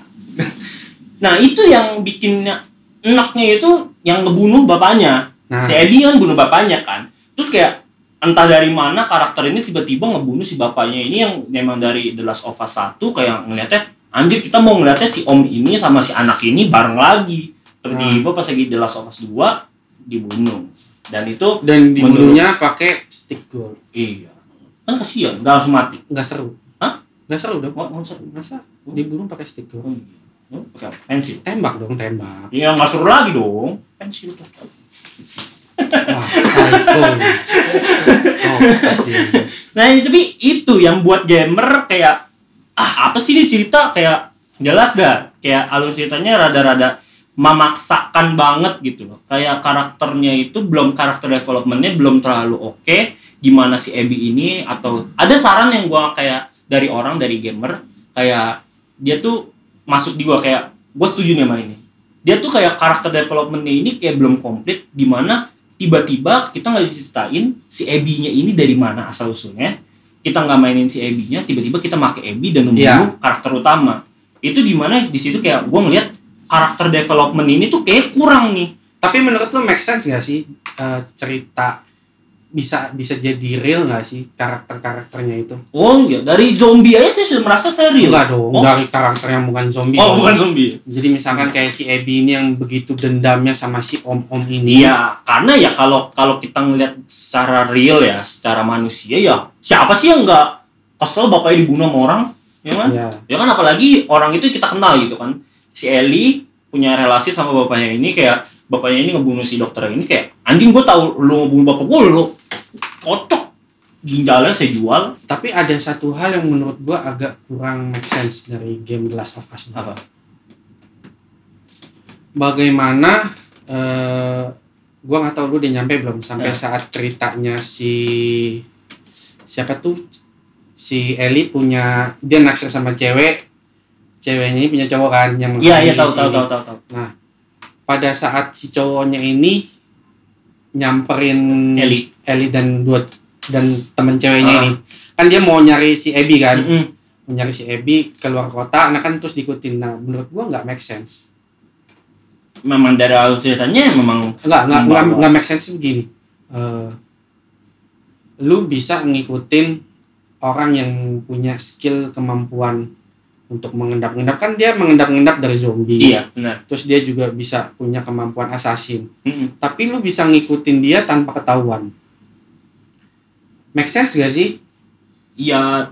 B: nah, itu yang bikinnya enaknya itu yang ngebunuh bapaknya.
A: Nah.
B: Si Abby kan bunuh bapaknya kan. Terus kayak entah dari mana karakter ini tiba-tiba ngebunuh si bapaknya ini yang memang dari The Last of Us 1 kayak ngeliatnya anjir kita mau ngeliatnya si om ini sama si anak ini bareng lagi. Tiba-tiba pas lagi The Last of Us 2 dibunuh. Dan itu
A: Dan dibunuhnya pakai stick gold.
B: iya. Kan kasihan, gak langsung mati.
A: Nggak seru.
B: Hah?
A: Nggak seru dong.
B: Wah, masa?
A: Masa dibunuh pakai stick gold.
B: Oh, iya. Oh, pakai pensil.
A: Tembak dong, tembak.
B: Ya nggak suruh lagi dong. Pensil tuh.
A: Wah, psycho. Oh, pasti.
B: Nah tapi itu yang buat gamer kayak ah apa sih ini cerita kayak jelas dah kayak alur ceritanya rada-rada memaksakan banget gitu loh kayak karakternya itu belum karakter developmentnya belum terlalu oke gimana si Abby ini atau ada saran yang gua kayak dari orang dari gamer kayak dia tuh masuk di gua kayak gua setuju nih sama ini dia tuh kayak karakter developmentnya ini kayak belum komplit gimana tiba-tiba kita nggak diceritain si Abby-nya ini dari mana asal usulnya kita nggak mainin si Abby-nya tiba-tiba kita make Abby dan membunuh
A: Iya.
B: karakter utama itu dimana di situ kayak gue ngeliat karakter development ini tuh kayak kurang nih
A: Tapi menurut lu make sense gak sih eh, cerita bisa bisa jadi real gak sih karakter-karakternya itu?
B: oh iya dari zombie aja saya sudah merasa serius
A: Enggak dong,
B: oh,
A: dari karakter yang bukan zombie.
B: oh bukan zombie
A: Jadi misalkan kayak si Abby ini yang begitu dendamnya sama si om-om ini.
B: Iya, karena ya kalau kalau kita ngelihat secara real ya, secara manusia ya, siapa sih yang nggak kesel bapaknya dibunuh sama orang, ya kan?
A: Iya.
B: Ya kan apalagi orang itu kita kenal gitu kan. Si Eli punya relasi sama bapaknya ini kayak bapaknya ini ngebunuh si dokter ini kayak anjing gue tahu lu ngebunuh bapak gue lu kocok ginjalnya saya jual
A: Tapi ada satu hal yang menurut gua agak kurang make sense dari game The Last of Us.
B: apa?
A: Bagaimana eh gua nggak tahu lu udah nyampe belum sampai
B: Ya.
A: saat ceritanya si siapa tuh si Ellie punya dia naksir sama cewek ceweknya ini punya cowok kan yang
B: Iya iya
A: menghamili
B: tahu
A: si
B: tahu
A: ini.
B: tahu tahu tahu.
A: Nah, pada saat si cowoknya ini nyamperin
B: Eli.
A: Eli dan dua dan temen ceweknya
B: Ah.
A: ini, kan dia mau nyari si Abby kan,
B: Mm-mm.
A: mau nyari si Abby keluar kota, nah kan terus diikutin. Nah, menurut gua nggak make sense.
B: Memang dari alur ceritanya memang
A: Nggak nggak nggak
B: Membawa.
A: nggak make sense tuh gini. Eh, lu bisa ngikutin orang yang punya skill kemampuan untuk mengendap-endap kan dia mengendap-endap dari zombie.
B: iya benar. Hmm.
A: Terus dia juga bisa punya kemampuan assassin.
B: Mm-mm.
A: tapi lu bisa ngikutin dia tanpa ketahuan. Make sense gak sih?
B: ya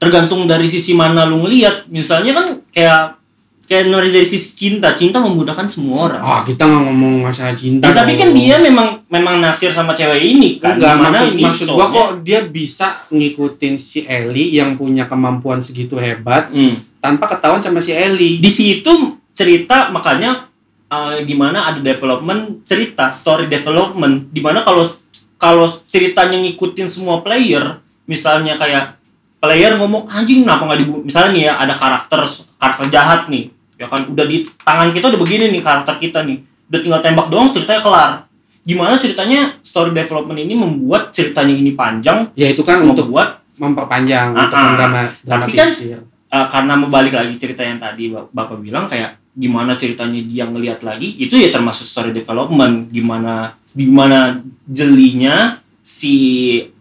B: tergantung dari sisi mana lu ngelihat misalnya kan kayak kayak dari, dari sisi cinta cinta memudahkan semua orang
A: Ah, kita nggak ngomong masalah cinta.
B: Ya, tapi
A: dong.
B: kan dia memang memang naksir sama cewek ini kan Iya.
A: enggak
B: Dimana
A: maksud,
B: ini
A: maksud gua
B: cowoknya-
A: kok dia bisa ngikutin si Ellie yang punya kemampuan segitu hebat
B: Hmm.
A: tanpa ketahuan sama si Ellie.
B: di situ cerita makanya eh, gimana ada development cerita story development dimana kalau kalau ceritanya ngikutin semua player misalnya kayak player ngomong anjing kenapa nggak dibunuh misalnya nih ya ada karakter karakter jahat nih ya kan udah di tangan kita udah begini nih karakter kita nih udah tinggal tembak doang ceritanya kelar gimana ceritanya story development ini membuat ceritanya ini panjang
A: ya itu kan untuk
B: membuat
A: memperpanjang
B: Ah,
A: untuk
B: ah.
A: drama
B: Tapi kan- Uh, karena membalik lagi cerita yang tadi Bap- bapak bilang kayak gimana ceritanya dia ngelihat lagi itu ya termasuk story development gimana gimana jelinya si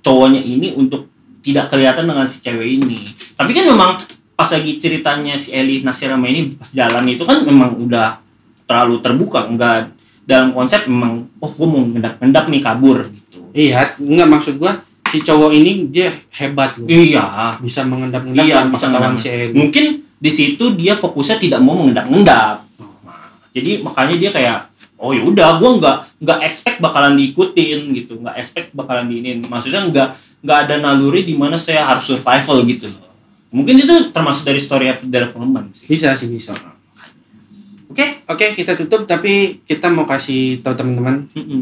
B: cowoknya ini untuk tidak kelihatan dengan si cewek ini tapi kan memang pas lagi ceritanya si Eli naksir sama ini pas jalan itu kan memang udah terlalu terbuka enggak dalam konsep memang oh gue mau ngendap-ngendap nih kabur gitu
A: iya nggak maksud gua si cowok ini dia hebat loh
B: iya
A: bisa mengendap-endap
B: Iya,
A: tanpa
B: bisa
A: ketahuan
B: mengendap.
A: si Eli
B: mungkin di situ dia fokusnya tidak mau mengendap-endap Nah, jadi makanya dia kayak oh ya udah gue nggak nggak expect bakalan diikutin gitu nggak expect bakalan diinin maksudnya nggak nggak ada naluri di mana saya harus survival gitu loh. mungkin itu termasuk dari story of development sih
A: bisa sih bisa
B: oke
A: oke kita tutup tapi kita mau kasih tahu teman-teman
B: Mm-mm.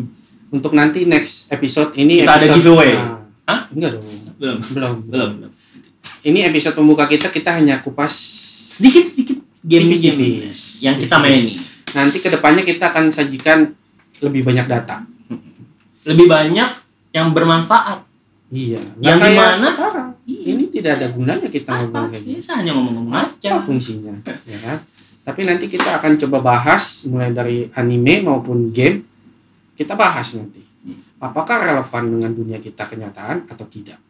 A: untuk nanti next episode ini
B: Kita ada
A: episode-
B: giveaway.
A: Nah,
B: Hah?
A: enggak dong
B: belum
A: belum
B: belum belum
A: ini episode pembuka kita kita hanya kupas
B: sedikit sedikit game game
A: Tipis-tipis.
B: yang kita mainin
A: nanti kedepannya kita akan sajikan lebih banyak data
B: lebih banyak yang bermanfaat
A: iya
B: Yang
A: Nggak kayak
B: dimana?
A: sekarang
B: Iya.
A: ini tidak ada gunanya kita
B: apa
A: ngomong kayak
B: sih
A: gini
B: saya hanya ngomong-ngomong aja
A: apa fungsinya ya kan? tapi nanti kita akan coba bahas mulai dari anime maupun game kita bahas nanti apakah relevan dengan dunia kita kenyataan atau tidak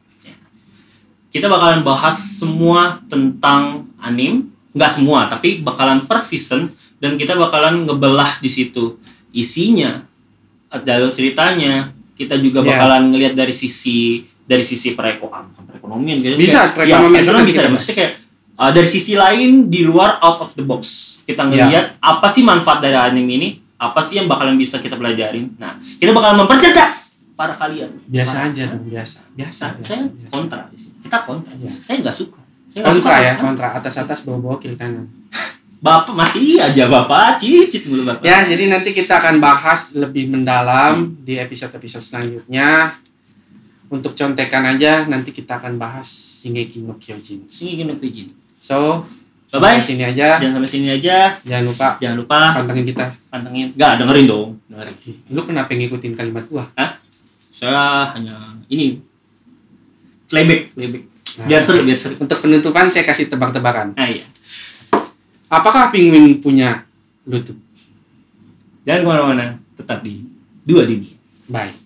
B: kita bakalan bahas semua tentang anim nggak semua tapi bakalan per season dan kita bakalan ngebelah di situ isinya jalur ceritanya kita juga
A: Ya.
B: bakalan ngelihat dari sisi dari sisi pereko ah, bukan perekonomian gitu.
A: Bisa,
B: Kayak-
A: perekonomian
B: ya, perekonomian
A: kan
B: bisa
A: kita bahas.
B: maksudnya kayak uh, dari sisi lain di luar out of the box
A: Iya.
B: kita ngelihat apa sih manfaat dari anim ini apa sih yang bakalan bisa kita pelajarin nah kita bakalan mempercerdas para kalian
A: biasa
B: Para-
A: aja dong biasa biasa,
B: Sa-
A: biasa,
B: saya
A: biasa.
B: kontra di sini. Kita kontra.
A: Iya.
B: Saya nggak suka. Saya nggak
A: kontra
B: suka. Kan
A: ya kontra atas atas bawah bawah kiri kanan
B: Bapak masih aja bapak cicit mulu bapak.
A: Ya, jadi nanti kita akan bahas lebih mendalam di episode-episode selanjutnya. Untuk contekan aja, nanti kita akan bahas Shingeki no Kyojin.
B: Sini gini izin.
A: So,
B: Bye-bye.
A: sampai sini aja.
B: Jangan sampai sini aja.
A: Jangan lupa
B: Jangan lupa
A: pantengin kita.
B: pantengin. Gak dengerin dong. Dengerin.
A: Lu kenapa ngikutin kalimat gua?
B: Saya hanya ini playback playback.
A: Nah,
B: Biar seru biar seru.
A: Untuk penutupan saya kasih tebak-tebakan.
B: Nah iya.
A: Apakah penguin punya lutut?
B: Jangan kemana-mana. Tetap di dua dunia.
A: Bye.